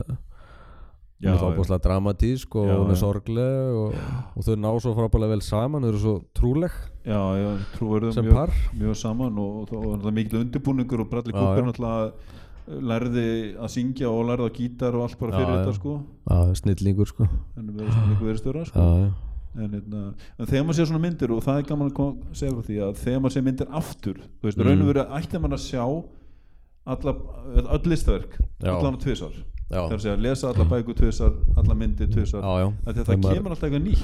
[SPEAKER 1] Já,
[SPEAKER 2] hún er
[SPEAKER 1] já.
[SPEAKER 2] þábúrslega dramatísk og
[SPEAKER 1] Já,
[SPEAKER 2] hún er
[SPEAKER 1] já.
[SPEAKER 2] sorgleg og, og þau ná svo frábælega vel saman þau eru svo trúleg
[SPEAKER 1] já, já trúverðum
[SPEAKER 2] sem
[SPEAKER 1] mjög,
[SPEAKER 2] par
[SPEAKER 1] mjög saman og, og, og, og mikil undirbúningur og Bradley
[SPEAKER 2] Já,
[SPEAKER 1] Cooper
[SPEAKER 2] já.
[SPEAKER 1] náttúrulega eh, lærði að syngja og lærði að gítar og allt bara
[SPEAKER 2] Já,
[SPEAKER 1] fyrir
[SPEAKER 2] já.
[SPEAKER 1] þetta sko
[SPEAKER 2] Já, snillingur sko
[SPEAKER 1] en það verður svona líka verið störa sko.
[SPEAKER 2] Já, já,
[SPEAKER 1] en, hérna, en þegar maður sé svona myndir og það er gaman að koma, segja frá því að þegar maður sé myndir aftur, þú veist,
[SPEAKER 2] Mm.
[SPEAKER 1] raun og verið ætti maður að sjá alla, öll listaverk,
[SPEAKER 2] Já.
[SPEAKER 1] allan á tvisar
[SPEAKER 2] já,
[SPEAKER 1] það er að segja, lesa alla bækur tvisar alla myndir tvisar
[SPEAKER 2] já, já.
[SPEAKER 1] Af því að það
[SPEAKER 2] Þegar maður-
[SPEAKER 1] kemur alltaf eitthvað nýtt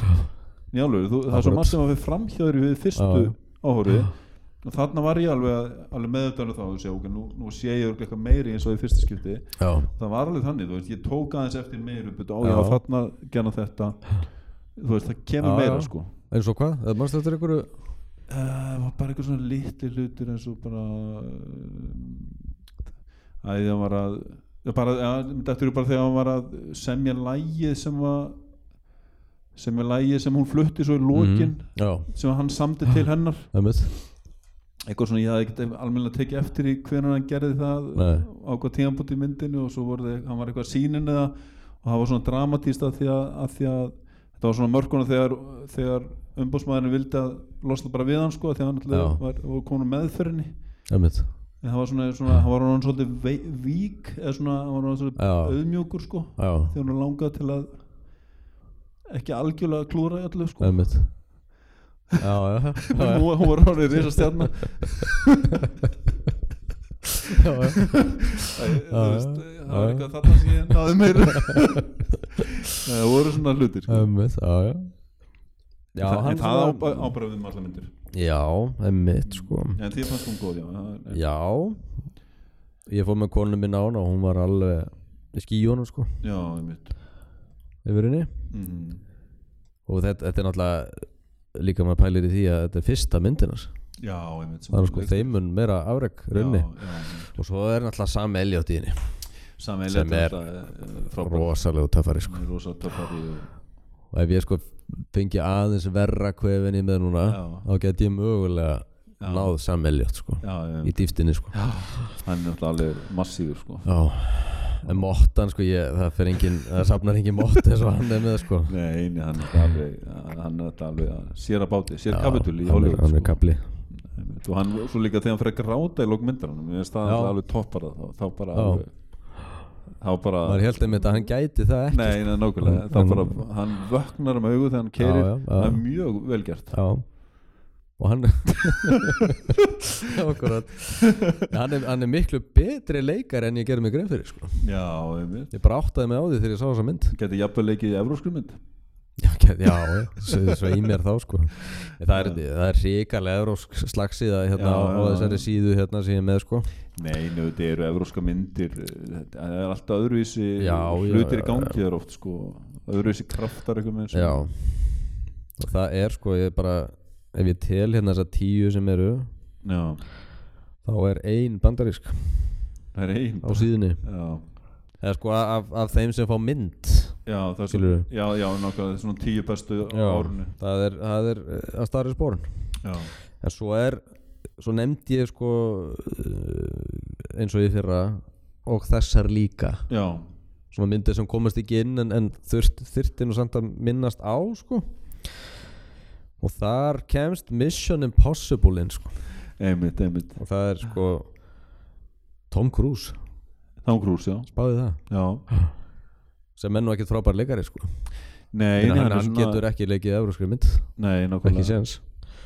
[SPEAKER 1] Njálfur, þú, það er svo
[SPEAKER 2] Akkurat.
[SPEAKER 1] margt sem að við framhjáður við fyrstu
[SPEAKER 2] Já.
[SPEAKER 1] áhorfið og þarna var ég alveg, að- alveg meðutæðan þá og segja, ok, nú, nú sé ég örugglega eitthvað meiri eins og í fyrsta skipti
[SPEAKER 2] já,
[SPEAKER 1] það var alveg þannig, þú veist, ég tók aðeins eftir meiri upp, á
[SPEAKER 2] Já.
[SPEAKER 1] já, þarna gerna þetta þú veist, það kemur
[SPEAKER 2] Já,
[SPEAKER 1] meira
[SPEAKER 2] já.
[SPEAKER 1] sko
[SPEAKER 2] eins og hvað, eða mannstu þetta er einhverju
[SPEAKER 1] Eh, það var bara eitthvað svona litli hlutur eins og bara eh, að það var að já, bara, ja, þetta eru bara þegar hann var að semja lægið sem var semja lægið sem hún flutti svo í lokin
[SPEAKER 2] Mhm, Já,
[SPEAKER 1] sem hann samdi til hennar
[SPEAKER 2] ömmið
[SPEAKER 1] eitthvað svona ég hafði ekkert almennilega tekið eftir í hvernig hann gerði það
[SPEAKER 2] Nei.
[SPEAKER 1] á hvað tíðanbúti í myndinu og svo voru þið, hann var eitthvað sínin eða og það var svona dramatíst að því að, að, því að þetta var svona mörguna þegar, þegar umbóðsmaðurinn vildi að losna bara við hann sko því að hann alltaf
[SPEAKER 2] Já.
[SPEAKER 1] var, var komin á meðferðinni
[SPEAKER 2] Ömmið
[SPEAKER 1] en það var svona, svona hann var hann svolítið vei, vík eða svona, hann var hann svolítið
[SPEAKER 2] Já.
[SPEAKER 1] auðmjúkur sko
[SPEAKER 2] Já,
[SPEAKER 1] því hann langaði til að ekki algjörlega klúra í öllu sko
[SPEAKER 2] ömmið Já, já, já, já, <laughs>
[SPEAKER 1] hún var- hún var orðið risa stjarnar
[SPEAKER 2] já, já.
[SPEAKER 1] það
[SPEAKER 2] já.
[SPEAKER 1] var eitthvað þarna sem ég náði meira Nei, það voru svona hlutir sko.
[SPEAKER 2] Ömmið, já, já Já,
[SPEAKER 1] það, en
[SPEAKER 2] hann
[SPEAKER 1] það
[SPEAKER 2] svona-
[SPEAKER 1] á- á bara við um alla myndir
[SPEAKER 2] Já, ömmið, sko
[SPEAKER 1] en því fannst hún góð já, það er-
[SPEAKER 2] Já Ég fór með konu minna á hana og hún var alveg í skíjónu sko
[SPEAKER 1] já, einmitt
[SPEAKER 2] yfir henni
[SPEAKER 1] mm.
[SPEAKER 2] og þetta, þetta er náttúrulega líka maður pælir í því að þetta er fyrsta myndinars
[SPEAKER 1] já, einmitt sem
[SPEAKER 2] það er
[SPEAKER 1] hún
[SPEAKER 2] sko
[SPEAKER 1] leikur.
[SPEAKER 2] þeimun meira afreg raunni
[SPEAKER 1] Já, já, einmitt.
[SPEAKER 2] og svo er náttúrulega sami Elliot í henni
[SPEAKER 1] Sami
[SPEAKER 2] Sem
[SPEAKER 1] Elliot
[SPEAKER 2] er
[SPEAKER 1] alltaf, eh, frábær.
[SPEAKER 2] rosalegu töffari sko
[SPEAKER 1] Hún er rosa töffari
[SPEAKER 2] og ef ég sko fengi aðeins verra kvefin í með núna
[SPEAKER 1] Já.
[SPEAKER 2] þá get ég mögulega náð sami Elliot sko
[SPEAKER 1] já, já,
[SPEAKER 2] í dýftinni sko já.
[SPEAKER 1] hann er alltaf alveg massífur sko
[SPEAKER 2] en mottan sko ég, það fer engin það safnar engin mott eins og hann er með sko
[SPEAKER 1] nei, nei, hann er alltaf alveg hann er alltaf alveg að sér að báti sér kapitul í
[SPEAKER 2] hann er,
[SPEAKER 1] Hollywood
[SPEAKER 2] hann er
[SPEAKER 1] sko.
[SPEAKER 2] kapli
[SPEAKER 1] Einmitt, og hann svo líka þegar hann fyrir að gráta í lókmyndaranum ég veist það
[SPEAKER 2] Já.
[SPEAKER 1] er alveg toppar það þá, þá bara
[SPEAKER 2] Já.
[SPEAKER 1] alveg, þá bara
[SPEAKER 2] maður held einmitt að hann gæti það ekki
[SPEAKER 1] nei, nei, nákvæmlega þá
[SPEAKER 2] En-
[SPEAKER 1] bara hann vöknar um augu þegar hann keirir
[SPEAKER 2] já, já.
[SPEAKER 1] það er mjög velgjart
[SPEAKER 2] já og hann <laughs> okkurat hann er, hann er miklu betri leikar en ég gerði mig grein fyrir sko.
[SPEAKER 1] já, einmitt
[SPEAKER 2] ég bara áttaði mig á því þegar ég sá þessa mynd
[SPEAKER 1] geti jafnvel leikið í evróskrumynd
[SPEAKER 2] já, get- já, já, svo, svo í mér þá sko. En það er, það er ríkalega eurósk slagsíða hérna,
[SPEAKER 1] Já,
[SPEAKER 2] á, á
[SPEAKER 1] já, já.
[SPEAKER 2] þessari síðu hérna sem ég er með sko.
[SPEAKER 1] nei, nú, þetta eru evróska myndir það er alltaf öðruvísi
[SPEAKER 2] Já, já,
[SPEAKER 1] hlutir
[SPEAKER 2] já,
[SPEAKER 1] í gangi þar oft sko öðruvísi kraftar sko. eitthvað með
[SPEAKER 2] já og það er sko ég bara ef ég tel hérna þessa tíu sem eru
[SPEAKER 1] já,
[SPEAKER 2] þá er ein bandarísk
[SPEAKER 1] það er einn
[SPEAKER 2] á síðunni
[SPEAKER 1] já,
[SPEAKER 2] eða sko af, af þeim sem fá mynd
[SPEAKER 1] já, það er svo
[SPEAKER 2] Skilurðu?
[SPEAKER 1] já, já, nákvæmlega, svona tíu bestu á
[SPEAKER 2] Já.
[SPEAKER 1] árunni
[SPEAKER 2] það er, það er eh, að starri spórn
[SPEAKER 1] já,
[SPEAKER 2] en svo er svo nefndi ég sko eh, eins og ég fyrra og þessar líka
[SPEAKER 1] já
[SPEAKER 2] svona myndir sem komast ekki inn en, en þurft, þyrftin og samt að minnast á sko og þar kemst Mission Impossible inn sko
[SPEAKER 1] Einmitt, einmitt.
[SPEAKER 2] og það er sko Tom Cruise
[SPEAKER 1] Tom Cruise, já.
[SPEAKER 2] báði það
[SPEAKER 1] já.
[SPEAKER 2] sem er nú ekkert frábær leikari sko
[SPEAKER 1] Nei,
[SPEAKER 2] en
[SPEAKER 1] nei,
[SPEAKER 2] hann,
[SPEAKER 1] er
[SPEAKER 2] hann
[SPEAKER 1] svona-
[SPEAKER 2] getur ekki leikið euróskri mynd
[SPEAKER 1] Nei,
[SPEAKER 2] ekki
[SPEAKER 1] nákvæmlega.
[SPEAKER 2] séns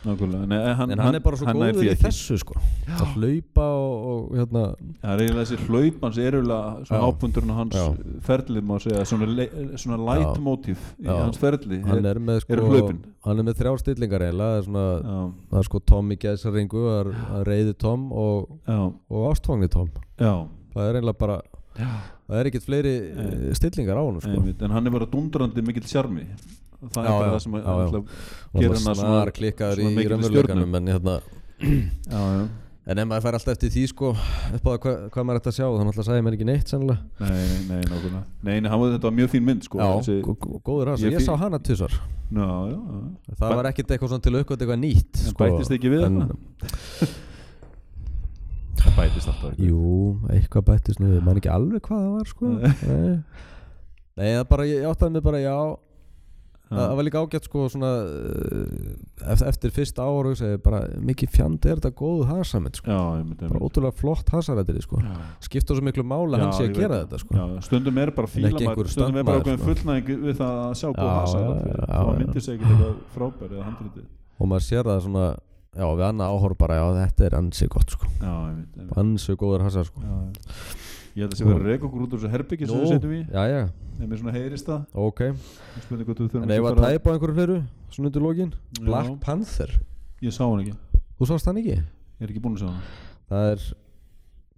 [SPEAKER 1] nákvæmlega. Nei, en hann,
[SPEAKER 2] en hann er bara svo
[SPEAKER 1] nær því
[SPEAKER 2] góður í
[SPEAKER 1] ekki.
[SPEAKER 2] þessu sko að hlaupa og, og hérna
[SPEAKER 1] Það er eiginlega þessi hlaup hans er eiginlega svona
[SPEAKER 2] Já.
[SPEAKER 1] ábundurinn á hans
[SPEAKER 2] Já.
[SPEAKER 1] ferlið má segja, svona, le- svona light
[SPEAKER 2] Já.
[SPEAKER 1] motif í
[SPEAKER 2] Já.
[SPEAKER 1] hans ferli.
[SPEAKER 2] hann er
[SPEAKER 1] eru
[SPEAKER 2] með sko
[SPEAKER 1] hlaupin?
[SPEAKER 2] hann er með þrjár stillingar eiginlega það er svona
[SPEAKER 1] Já,
[SPEAKER 2] það er sko Tom í gæsaringu það er það er reyði Tom og,
[SPEAKER 1] já,
[SPEAKER 2] og ástfangni Tom
[SPEAKER 1] já.
[SPEAKER 2] það er eiginlega bara það er ekkert fleiri eh, stillingar á hann sko
[SPEAKER 1] Einmitt. En hann er bara dundrandi mikill sjarmi. Það er
[SPEAKER 2] Já,
[SPEAKER 1] bara
[SPEAKER 2] já,
[SPEAKER 1] það sem að-
[SPEAKER 2] já, já.
[SPEAKER 1] alltaf
[SPEAKER 2] og
[SPEAKER 1] gerir
[SPEAKER 2] það
[SPEAKER 1] hann að
[SPEAKER 2] snar klikkaður
[SPEAKER 1] svona
[SPEAKER 2] í
[SPEAKER 1] mikilli
[SPEAKER 2] raunveruleikanum en hérna
[SPEAKER 1] Já, já.
[SPEAKER 2] en ef maður fær alltaf eftir því sko upp á það hva, hvað maður ætti að sjá þannig að sagði mér ekki neitt sennilega
[SPEAKER 1] Nei, nei, nei, nákvæmlega. Nei, nei, hann var þetta var mjög fín mynd, sko.
[SPEAKER 2] já,
[SPEAKER 1] Þessi,
[SPEAKER 2] gó- gó- góður hans
[SPEAKER 1] Ég
[SPEAKER 2] ég,
[SPEAKER 1] fí-
[SPEAKER 2] sá hana tvisar
[SPEAKER 1] já, já, já.
[SPEAKER 2] það
[SPEAKER 1] Bæ-
[SPEAKER 2] var ekkert eitthvað svona til aukvöld eitthvað nýtt
[SPEAKER 1] En
[SPEAKER 2] sko,
[SPEAKER 1] bættist ekki við
[SPEAKER 2] en-
[SPEAKER 1] þarna? Það bætist alltaf. eitthvað.
[SPEAKER 2] Jú, eitthvað bættist nú við, maður ekki alveg hvað það var
[SPEAKER 1] <laughs>
[SPEAKER 2] sko Nei, Nei það bara, ég áttaði mig bara já Það það var líka ágætt sko svona eh, eft- eftir fyrsta ára segi, ég bara, mikið fjandi er þetta góð hasamind sko,
[SPEAKER 1] Já, einmitt,
[SPEAKER 2] bara
[SPEAKER 1] einmitt.
[SPEAKER 2] ótrúlega flott hasarættiri sko,
[SPEAKER 1] Já.
[SPEAKER 2] skipta svo miklu mála
[SPEAKER 1] Já,
[SPEAKER 2] hann sé
[SPEAKER 1] ég
[SPEAKER 2] að
[SPEAKER 1] veit
[SPEAKER 2] gera
[SPEAKER 1] það.
[SPEAKER 2] þetta sko
[SPEAKER 1] Já, stundum er bara fíla
[SPEAKER 2] ekki
[SPEAKER 1] maður
[SPEAKER 2] einhver
[SPEAKER 1] stundum er bara
[SPEAKER 2] standmaður,
[SPEAKER 1] ákveðin
[SPEAKER 2] sko.
[SPEAKER 1] fullnæðing við það að sjá góð
[SPEAKER 2] Já,
[SPEAKER 1] hasa
[SPEAKER 2] já, já,
[SPEAKER 1] þá
[SPEAKER 2] já.
[SPEAKER 1] myndir sér ekkert eitthvað frábæri eða handriti
[SPEAKER 2] og maður sér það svona, já við annað áhor bara já þetta er ansi gott sko
[SPEAKER 1] já, einmitt, einmitt.
[SPEAKER 2] ansi góður hasar sko
[SPEAKER 1] Já, já. ég held að sé verið að reka okkur út úr þessu herbyggi sem
[SPEAKER 2] Nú,
[SPEAKER 1] við setjum í
[SPEAKER 2] já já,
[SPEAKER 1] ef mér svona heyrist það
[SPEAKER 2] ok
[SPEAKER 1] Ég spurði hvort við þurfum
[SPEAKER 2] en ef
[SPEAKER 1] ekki
[SPEAKER 2] að
[SPEAKER 1] að fara-
[SPEAKER 2] tæpa einhverju fleiru, svona undir lókin
[SPEAKER 1] Já.
[SPEAKER 2] Black Panther,
[SPEAKER 1] ég sá hann ekki,
[SPEAKER 2] þú sást hann ekki?
[SPEAKER 1] ég er ekki búinn að sjá hann
[SPEAKER 2] það er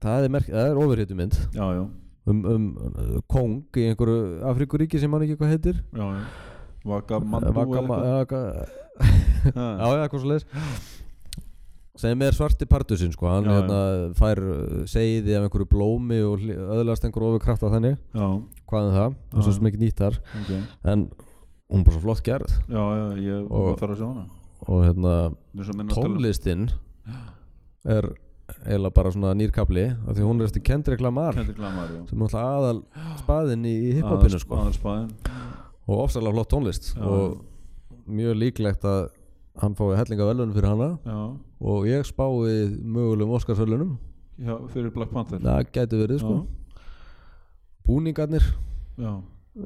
[SPEAKER 2] það er, merk, það er ofurhýttu mynd
[SPEAKER 1] já, já,
[SPEAKER 2] um, um uh, kong í einhverju Afrikuríki sem hann ekki hvað heitir
[SPEAKER 1] já, já. Vaka
[SPEAKER 2] Vaka-
[SPEAKER 1] mandu
[SPEAKER 2] Vaka- já, eitthvað svo leiðis sem er svarti pardusinn sko, hann
[SPEAKER 1] Já, já.
[SPEAKER 2] hérna, fær uh, seiði af einhverju blómi og hli- öðlast einhverju ofurkrafta þannig
[SPEAKER 1] já,
[SPEAKER 2] hvað er það, það
[SPEAKER 1] Já,
[SPEAKER 2] er svo sem ekki nýtt þar
[SPEAKER 1] ok
[SPEAKER 2] en hún er bara svo flott gerð
[SPEAKER 1] já, já, ég
[SPEAKER 2] Og-
[SPEAKER 1] þarf að sjá hana
[SPEAKER 2] og hérna
[SPEAKER 1] Þetta er svo minna að tala um-
[SPEAKER 2] tónlistinn er eiginlega bara svona nýrkabli af því hún er eftir Kendrick Lamar
[SPEAKER 1] Kendrick Lamar, já
[SPEAKER 2] sem er alltaf aðal spaðin í í hiphopinu
[SPEAKER 1] Aðal-
[SPEAKER 2] sko
[SPEAKER 1] aðalspaðinn.
[SPEAKER 2] og ofsalega flott tónlist
[SPEAKER 1] Já.
[SPEAKER 2] og mjög líklegt að hann fái hellinga velunum fyrir hana
[SPEAKER 1] já,
[SPEAKER 2] og ég spái mögulegum Óskarsvölunum
[SPEAKER 1] já, fyrir Black Panther
[SPEAKER 2] það gæti verið sko búningarnir
[SPEAKER 1] já,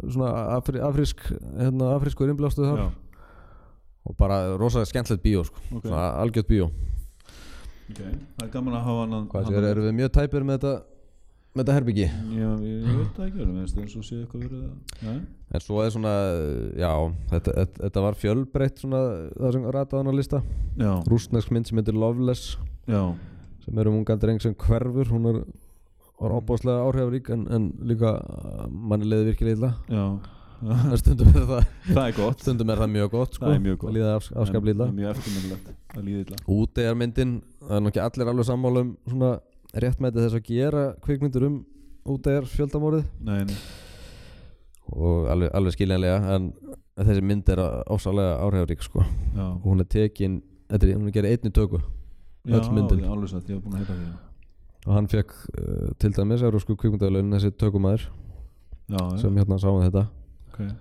[SPEAKER 2] svona afri, afrisk hérna, afriskur innblástuð þar
[SPEAKER 1] já,
[SPEAKER 2] og bara rosalega skemmtilegt bíó sko.
[SPEAKER 1] Ok.
[SPEAKER 2] svona algjört bíó
[SPEAKER 1] ok það er gaman að hafa hann að-
[SPEAKER 2] Hvað,
[SPEAKER 1] hann
[SPEAKER 2] er,
[SPEAKER 1] að-
[SPEAKER 2] erum við mjög tæpir með þetta með þetta herbyggi
[SPEAKER 1] já, ég, ég veit það ekki alveg minnst eins og sé eitthvað verið að- Nei?
[SPEAKER 2] en svo er svona, já þetta, þetta, þetta var fjölbreytt svona það sem rataðan á lista
[SPEAKER 1] já,
[SPEAKER 2] rúsnesk mynd sem heitir Loveless
[SPEAKER 1] já,
[SPEAKER 2] sem er um ungan dreng sem hverfur hún er var ábúðslega áhrifarík en, en líka uh, manni leiði virkilega illa <laughs>
[SPEAKER 1] já <laughs>
[SPEAKER 2] En stundum er það,
[SPEAKER 1] það er gott
[SPEAKER 2] stundum er það mjög gott sko.
[SPEAKER 1] Það er mjög gott.
[SPEAKER 2] líða af, afskaplega
[SPEAKER 1] En-
[SPEAKER 2] illa
[SPEAKER 1] en mjög eftirminnilegt að líða illa
[SPEAKER 2] útegarmyndin, það er nokkið allir alveg sammála um svona réttmæti þess að gera kvikmyndur um útegar fjöldamórið
[SPEAKER 1] nei, nei,
[SPEAKER 2] og alveg, alveg skiljanlega en þessi mynd er ósálega áhrifarík sko.
[SPEAKER 1] já
[SPEAKER 2] og hún er tekin, þetta er, hún er gerði einni töku
[SPEAKER 1] já,
[SPEAKER 2] öll myndin.
[SPEAKER 1] já, alveg satt, ég hef búin að heita því já.
[SPEAKER 2] og hann fekk uh, til dæmis eurósku kvikmyndalögin þessi tökumæður
[SPEAKER 1] já, já,
[SPEAKER 2] sem hérna sáum þetta
[SPEAKER 1] ok já,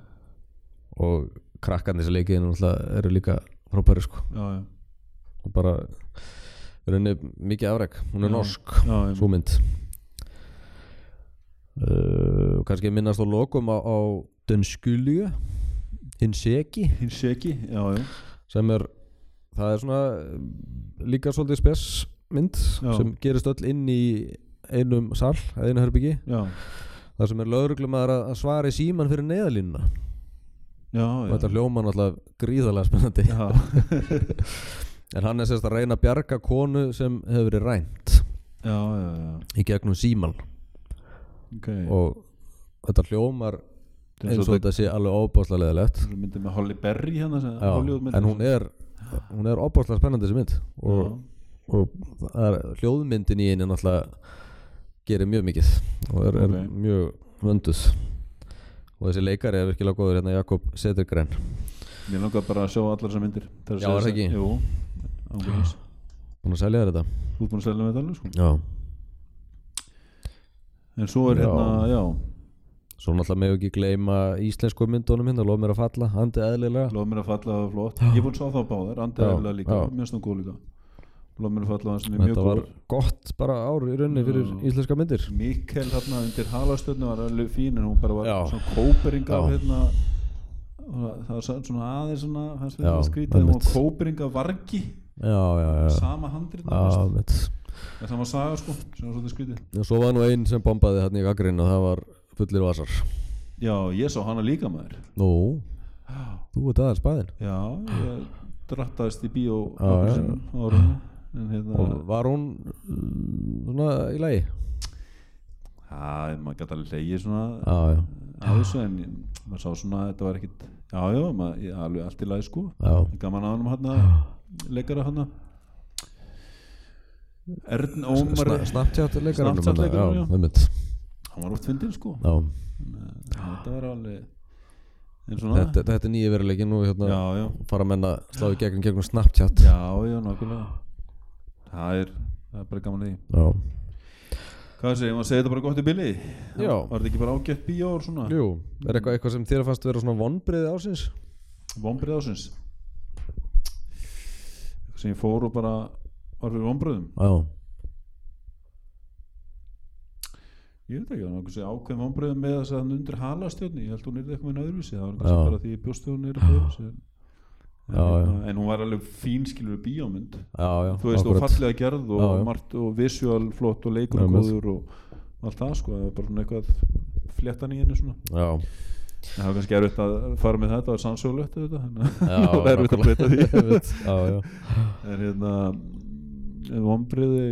[SPEAKER 2] og krakkarnir sem leikið náttúrulega eru líka frábæri sko
[SPEAKER 1] já,
[SPEAKER 2] og bara er henni mikið afreg, hún er
[SPEAKER 1] Já.
[SPEAKER 2] norsk
[SPEAKER 1] já, já,
[SPEAKER 2] svo mynd uh, og kannski minnast á lokum á, á Den Skulju Hinseki
[SPEAKER 1] hinn seki, já, já
[SPEAKER 2] sem er það er svona eh, líka svolítið spes mynd
[SPEAKER 1] Já.
[SPEAKER 2] sem gerist öll inn í einum sal, eða einu herbyggi
[SPEAKER 1] já,
[SPEAKER 2] þar sem er lögreglumæður að að svara í síman fyrir neðalínuna
[SPEAKER 1] já,
[SPEAKER 2] og
[SPEAKER 1] já
[SPEAKER 2] þetta hljóma náttúrulega gríðalega spennandi
[SPEAKER 1] já,
[SPEAKER 2] en hann er sérst að reyna að bjarga konu sem hefur verið rænt
[SPEAKER 1] já, já, já,
[SPEAKER 2] í gegnum síman
[SPEAKER 1] ok
[SPEAKER 2] og þetta hljómar
[SPEAKER 1] Þetta er
[SPEAKER 2] eins og
[SPEAKER 1] svolítið-
[SPEAKER 2] þetta sé alveg óbáslega leðilegt
[SPEAKER 1] Svo myndið með Holly Berry hérna sem- Hollywood
[SPEAKER 2] en hún er hún er óbáslega spennandi þessi mynd og, og það er, hljóðmyndin í einu náttúrulega gerir mjög mikið og er, er
[SPEAKER 1] Ok.
[SPEAKER 2] mjög vönduð og þessi leikari er virkilega góður hérna Jakob Settergren
[SPEAKER 1] Mér langar bara að sjá allar þessar myndir Þegar
[SPEAKER 2] Já,
[SPEAKER 1] að
[SPEAKER 2] er
[SPEAKER 1] segja-
[SPEAKER 2] það ekki?
[SPEAKER 1] Jú, ángurins
[SPEAKER 2] <gasps> búin að selja þér þetta
[SPEAKER 1] Þú ert búin að selja með þetta alveg sko
[SPEAKER 2] já.
[SPEAKER 1] En svo er
[SPEAKER 2] Já.
[SPEAKER 1] hérna, já,
[SPEAKER 2] svo náttúrulega með ekki gleyma íslensku myndunum hérna, lof mér að falla, andi eðlilega
[SPEAKER 1] lof mér að falla það var flott Ég er búin að sá það báðar, Andi
[SPEAKER 2] Já,
[SPEAKER 1] Erla líka
[SPEAKER 2] já.
[SPEAKER 1] Mjög snú góð líka Lof mér að falla það sem er mjög
[SPEAKER 2] þetta var
[SPEAKER 1] góð
[SPEAKER 2] gott bara ár í rauninni fyrir
[SPEAKER 1] Já.
[SPEAKER 2] íslenska myndir
[SPEAKER 1] Mikkel hérna undir halastöðnu var alveg fín En hún bara var
[SPEAKER 2] Já.
[SPEAKER 1] svona kópering af
[SPEAKER 2] Já.
[SPEAKER 1] hérna Það var svona aðeins svona Hans
[SPEAKER 2] Já,
[SPEAKER 1] við skrítið Hún var
[SPEAKER 2] einmitt.
[SPEAKER 1] kópering af vargi
[SPEAKER 2] já, já, já,
[SPEAKER 1] Sama handrið
[SPEAKER 2] já
[SPEAKER 1] En
[SPEAKER 2] mitt.
[SPEAKER 1] það var saga sko Sem var svolítið skrítið
[SPEAKER 2] En svo var nú einn sem bombaði hérna í gaggrinn og það var fullir vasar
[SPEAKER 1] Já, ég sá hana líka maður
[SPEAKER 2] nú, þú ert aðeins bæðin
[SPEAKER 1] Já, ég drattaðist í bíó
[SPEAKER 2] Já,
[SPEAKER 1] nokkrum
[SPEAKER 2] já.
[SPEAKER 1] sinnum á árunni en hérna
[SPEAKER 2] og var hún mm, svona í lagi
[SPEAKER 1] Já, maður gæti alveg leiði svona
[SPEAKER 2] já, já,
[SPEAKER 1] á þessu en ég- maður sá svona að þetta var ekkit Já, já, maður, ég, alveg allt í lagi sko
[SPEAKER 2] já,
[SPEAKER 1] Gaman á hann hann leikara hann Ern Ómar
[SPEAKER 2] Sna, Snapchat leikarinn
[SPEAKER 1] Snapchat leikarinn,
[SPEAKER 2] já,
[SPEAKER 1] já.
[SPEAKER 2] það mitt
[SPEAKER 1] Hann var út fyndin sko
[SPEAKER 2] já.
[SPEAKER 1] Þetta var alveg En svona
[SPEAKER 2] Þetta, þetta er nýja veruleikin og hérna
[SPEAKER 1] Já, já,
[SPEAKER 2] fara menn að slá í gegn gegnum Snapchat
[SPEAKER 1] já, já, nákvæmlega Það er, það er bara gaman að því
[SPEAKER 2] já,
[SPEAKER 1] Hvað segir, maður segir þetta bara gott í bili
[SPEAKER 2] já.
[SPEAKER 1] Var þetta ekki bara ágætt bíó og svona
[SPEAKER 2] Jú, er eitthvað, eitthvað sem þér fannst vera svona vonbriði ásins?
[SPEAKER 1] Vombrið ásins Eitthvað sem ég fór og bara var fyrir vombriðum
[SPEAKER 2] Já,
[SPEAKER 1] Ég veit ekki, það var nokkuð sem ákveðum vombriðum með þess að hann undir halastjörni Ég held hún er eitthvað með öðruvísi Það var nokkuð
[SPEAKER 2] Já.
[SPEAKER 1] sem bara því ég bjóst hún er eitthvað öðruvísi en,
[SPEAKER 2] Já,
[SPEAKER 1] hérna, en hún var alveg fín skilur bíómynd
[SPEAKER 2] já, já
[SPEAKER 1] Þú veist, og
[SPEAKER 2] akkurat.
[SPEAKER 1] fallega gerð og
[SPEAKER 2] Já, já.
[SPEAKER 1] margt og visual flott og leikur
[SPEAKER 2] Já,
[SPEAKER 1] og
[SPEAKER 2] með.
[SPEAKER 1] góður og allt það sko, það var bara svona eitthvað fléttan í henni svona
[SPEAKER 2] Já,
[SPEAKER 1] En það var kannski erfitt að fara með þetta, það var sannsögulegt þetta, þannig
[SPEAKER 2] já
[SPEAKER 1] að <laughs> það er erfitt að
[SPEAKER 2] nákvæmlega.
[SPEAKER 1] breyta því
[SPEAKER 2] <laughs> Einmitt, Já, já
[SPEAKER 1] en hérna vombriði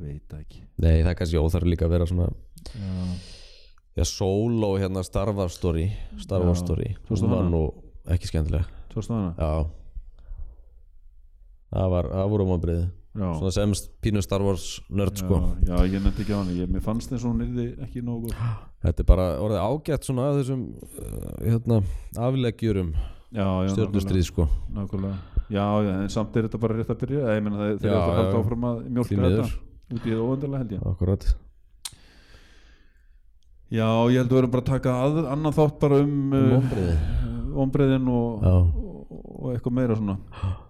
[SPEAKER 1] veit ekki
[SPEAKER 2] Nei, það er kannski óþarf líka að vera svona
[SPEAKER 1] já,
[SPEAKER 2] Já, solo hérna Star Wars story Star Wars
[SPEAKER 1] Já.
[SPEAKER 2] story
[SPEAKER 1] Sástu
[SPEAKER 2] Hún var
[SPEAKER 1] hana?
[SPEAKER 2] nú ekki skemmtilega
[SPEAKER 1] tókstu hana
[SPEAKER 2] Já það var, það voru ámabriði
[SPEAKER 1] já,
[SPEAKER 2] svona semst pínu Star Wars nörd sko
[SPEAKER 1] já, já, ég nefndi ekki á hann ég, mér fannst eins og hún yrði ekki nógu góð.
[SPEAKER 2] þetta er bara orðið ágætt svona af þessum uh, hérna, aflegjurum
[SPEAKER 1] já, já,
[SPEAKER 2] stjórnustrið sko
[SPEAKER 1] nákvæmlega, nákvæmlega. Já, já, en samt er þetta bara rétt að byrja eða ég meina það- þeir eru eftir
[SPEAKER 2] Já,
[SPEAKER 1] að
[SPEAKER 2] já,
[SPEAKER 1] halda
[SPEAKER 2] já.
[SPEAKER 1] áfram að
[SPEAKER 2] Því
[SPEAKER 1] mjólka
[SPEAKER 2] miður.
[SPEAKER 1] þetta út í það óvendarlega held ég
[SPEAKER 2] akkurat
[SPEAKER 1] já, ég held að við erum bara að taka að, annan þátt bara um
[SPEAKER 2] um
[SPEAKER 1] uh,
[SPEAKER 2] ombriði
[SPEAKER 1] ombriðin og,
[SPEAKER 2] já,
[SPEAKER 1] og, og eitthvað meira svona og,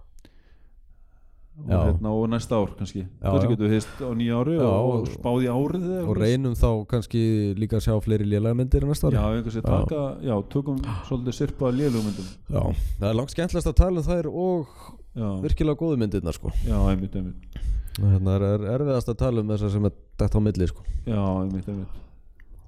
[SPEAKER 2] Já.
[SPEAKER 1] hérna, og næsta ár kannski þetta
[SPEAKER 2] já.
[SPEAKER 1] getur við hýst á nýja ári
[SPEAKER 2] Já,
[SPEAKER 1] og,
[SPEAKER 2] og-
[SPEAKER 1] og spáð í árið eða
[SPEAKER 2] og
[SPEAKER 1] eitthvað.
[SPEAKER 2] reynum þá kannski líka að sjá fleiri lélagamyndir næsta ári
[SPEAKER 1] já, einhversi taka, já, tökum svolítið sirpa lélugmyndum
[SPEAKER 2] já, það er langt skemmtilegast að tala um þær og
[SPEAKER 1] já,
[SPEAKER 2] virkilega góðu myndirnar sko
[SPEAKER 1] já, einmitt, einmitt
[SPEAKER 2] hérna er, er erfiðast að tala um þessar sem er dætt á milli sko
[SPEAKER 1] já, einmitt, einmitt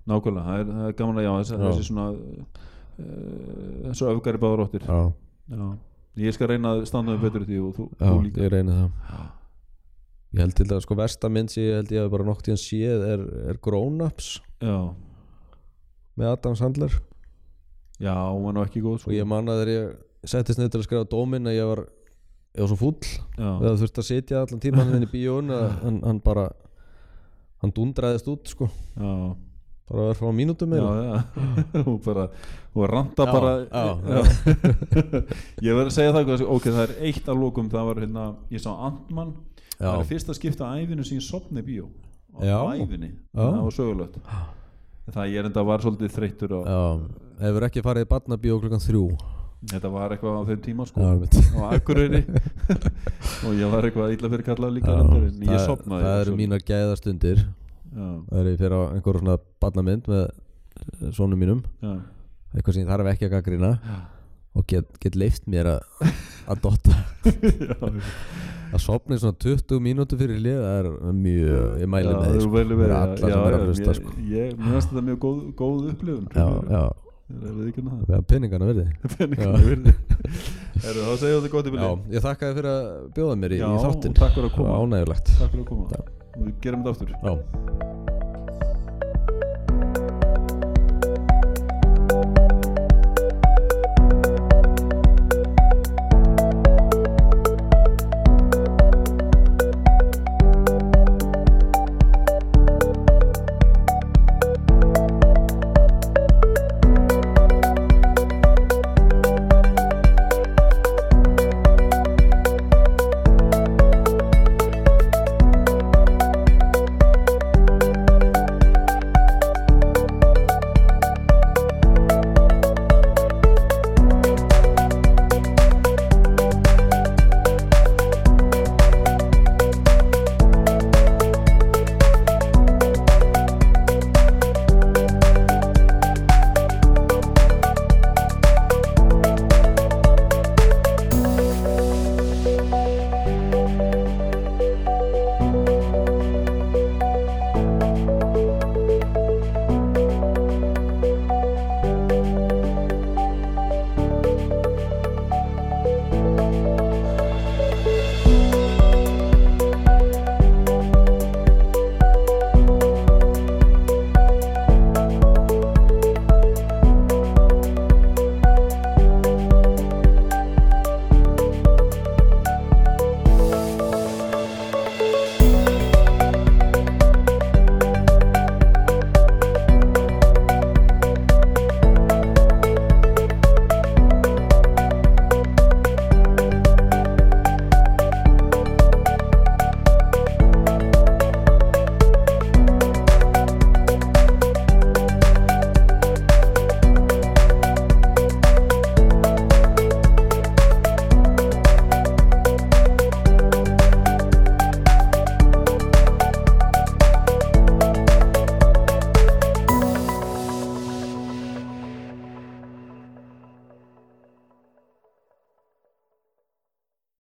[SPEAKER 1] nákvæmlega, það er, það er gaman að já þessi,
[SPEAKER 2] Já.
[SPEAKER 1] þessi svona uh, þessu öfgari báðaróttir
[SPEAKER 2] já,
[SPEAKER 1] já, ég skal reyna að standa með betur í því og þú,
[SPEAKER 2] já
[SPEAKER 1] þú líka
[SPEAKER 2] ég reyni það ég held til það sko versta mynd sem ég held ég hafi bara nokt í hann séð er, er Grown Ups
[SPEAKER 1] já,
[SPEAKER 2] með Adam Sandler
[SPEAKER 1] já, hún var nú ekki góð sko.
[SPEAKER 2] og ég man að þegar ég settist neitt til að skrifa dómin að ég var ég var svo fúll
[SPEAKER 1] já,
[SPEAKER 2] eða þurfti að sitja allan tíman inn í bíón hann, hann bara hann dundraðist út sko
[SPEAKER 1] já
[SPEAKER 2] bara að vera frá mínútum
[SPEAKER 1] já,
[SPEAKER 2] eða
[SPEAKER 1] já. <laughs> hún bara hún ranta bara
[SPEAKER 2] já, já.
[SPEAKER 1] <laughs> ég verður að segja það hvað, ok, það er eitt að lókum það var hérna, ég sá Antmann það
[SPEAKER 2] Já.
[SPEAKER 1] er fyrsta skipta á æfinu sem ég sopni í bíó á
[SPEAKER 2] Já.
[SPEAKER 1] æfinu, það var sögulegt það ég er enda var svolítið þreyttur á,
[SPEAKER 2] já hefur ekki farið í barnabíó klukkan þrjú
[SPEAKER 1] þetta var eitthvað á þeim tíma sko,
[SPEAKER 2] já, mitt
[SPEAKER 1] á
[SPEAKER 2] <laughs>
[SPEAKER 1] Akureyri og ég var eitthvað illa fyrir kallað líka reyndar, en ég sopnaði
[SPEAKER 2] það eru
[SPEAKER 1] svo-
[SPEAKER 2] mínar gæðastundir
[SPEAKER 1] já,
[SPEAKER 2] það eru ég fyrir á einhverjum svona barnamynd með sónum mínum
[SPEAKER 1] já,
[SPEAKER 2] eitthvað sem ég þarf ekki að gaggrina og get, get leift mér að að
[SPEAKER 1] <laughs>
[SPEAKER 2] dotta að sopna í svona 20 mínútu fyrir lið það er mjög, ég mæli
[SPEAKER 1] Já,
[SPEAKER 2] með því
[SPEAKER 1] þú
[SPEAKER 2] sko.
[SPEAKER 1] mælir með því,
[SPEAKER 2] fyrir alla
[SPEAKER 1] já,
[SPEAKER 2] sem er
[SPEAKER 1] já,
[SPEAKER 2] að hlusta
[SPEAKER 1] ég-
[SPEAKER 2] sko.
[SPEAKER 1] ég, mér finnst þetta mjög góð, góð upplifun
[SPEAKER 2] já, já,
[SPEAKER 1] ég veit ekki um það
[SPEAKER 2] það er peningana verði
[SPEAKER 1] peningana virði Heru, þá segjum við þetta gott í
[SPEAKER 2] já,
[SPEAKER 1] byrju
[SPEAKER 2] ég þakka þér fyrir að bjóða mér í,
[SPEAKER 1] Já,
[SPEAKER 2] í þáttin
[SPEAKER 1] og takk fyrir að koma.
[SPEAKER 2] ánægulegt
[SPEAKER 1] takk fyrir að koma við gerum þetta aftur
[SPEAKER 2] já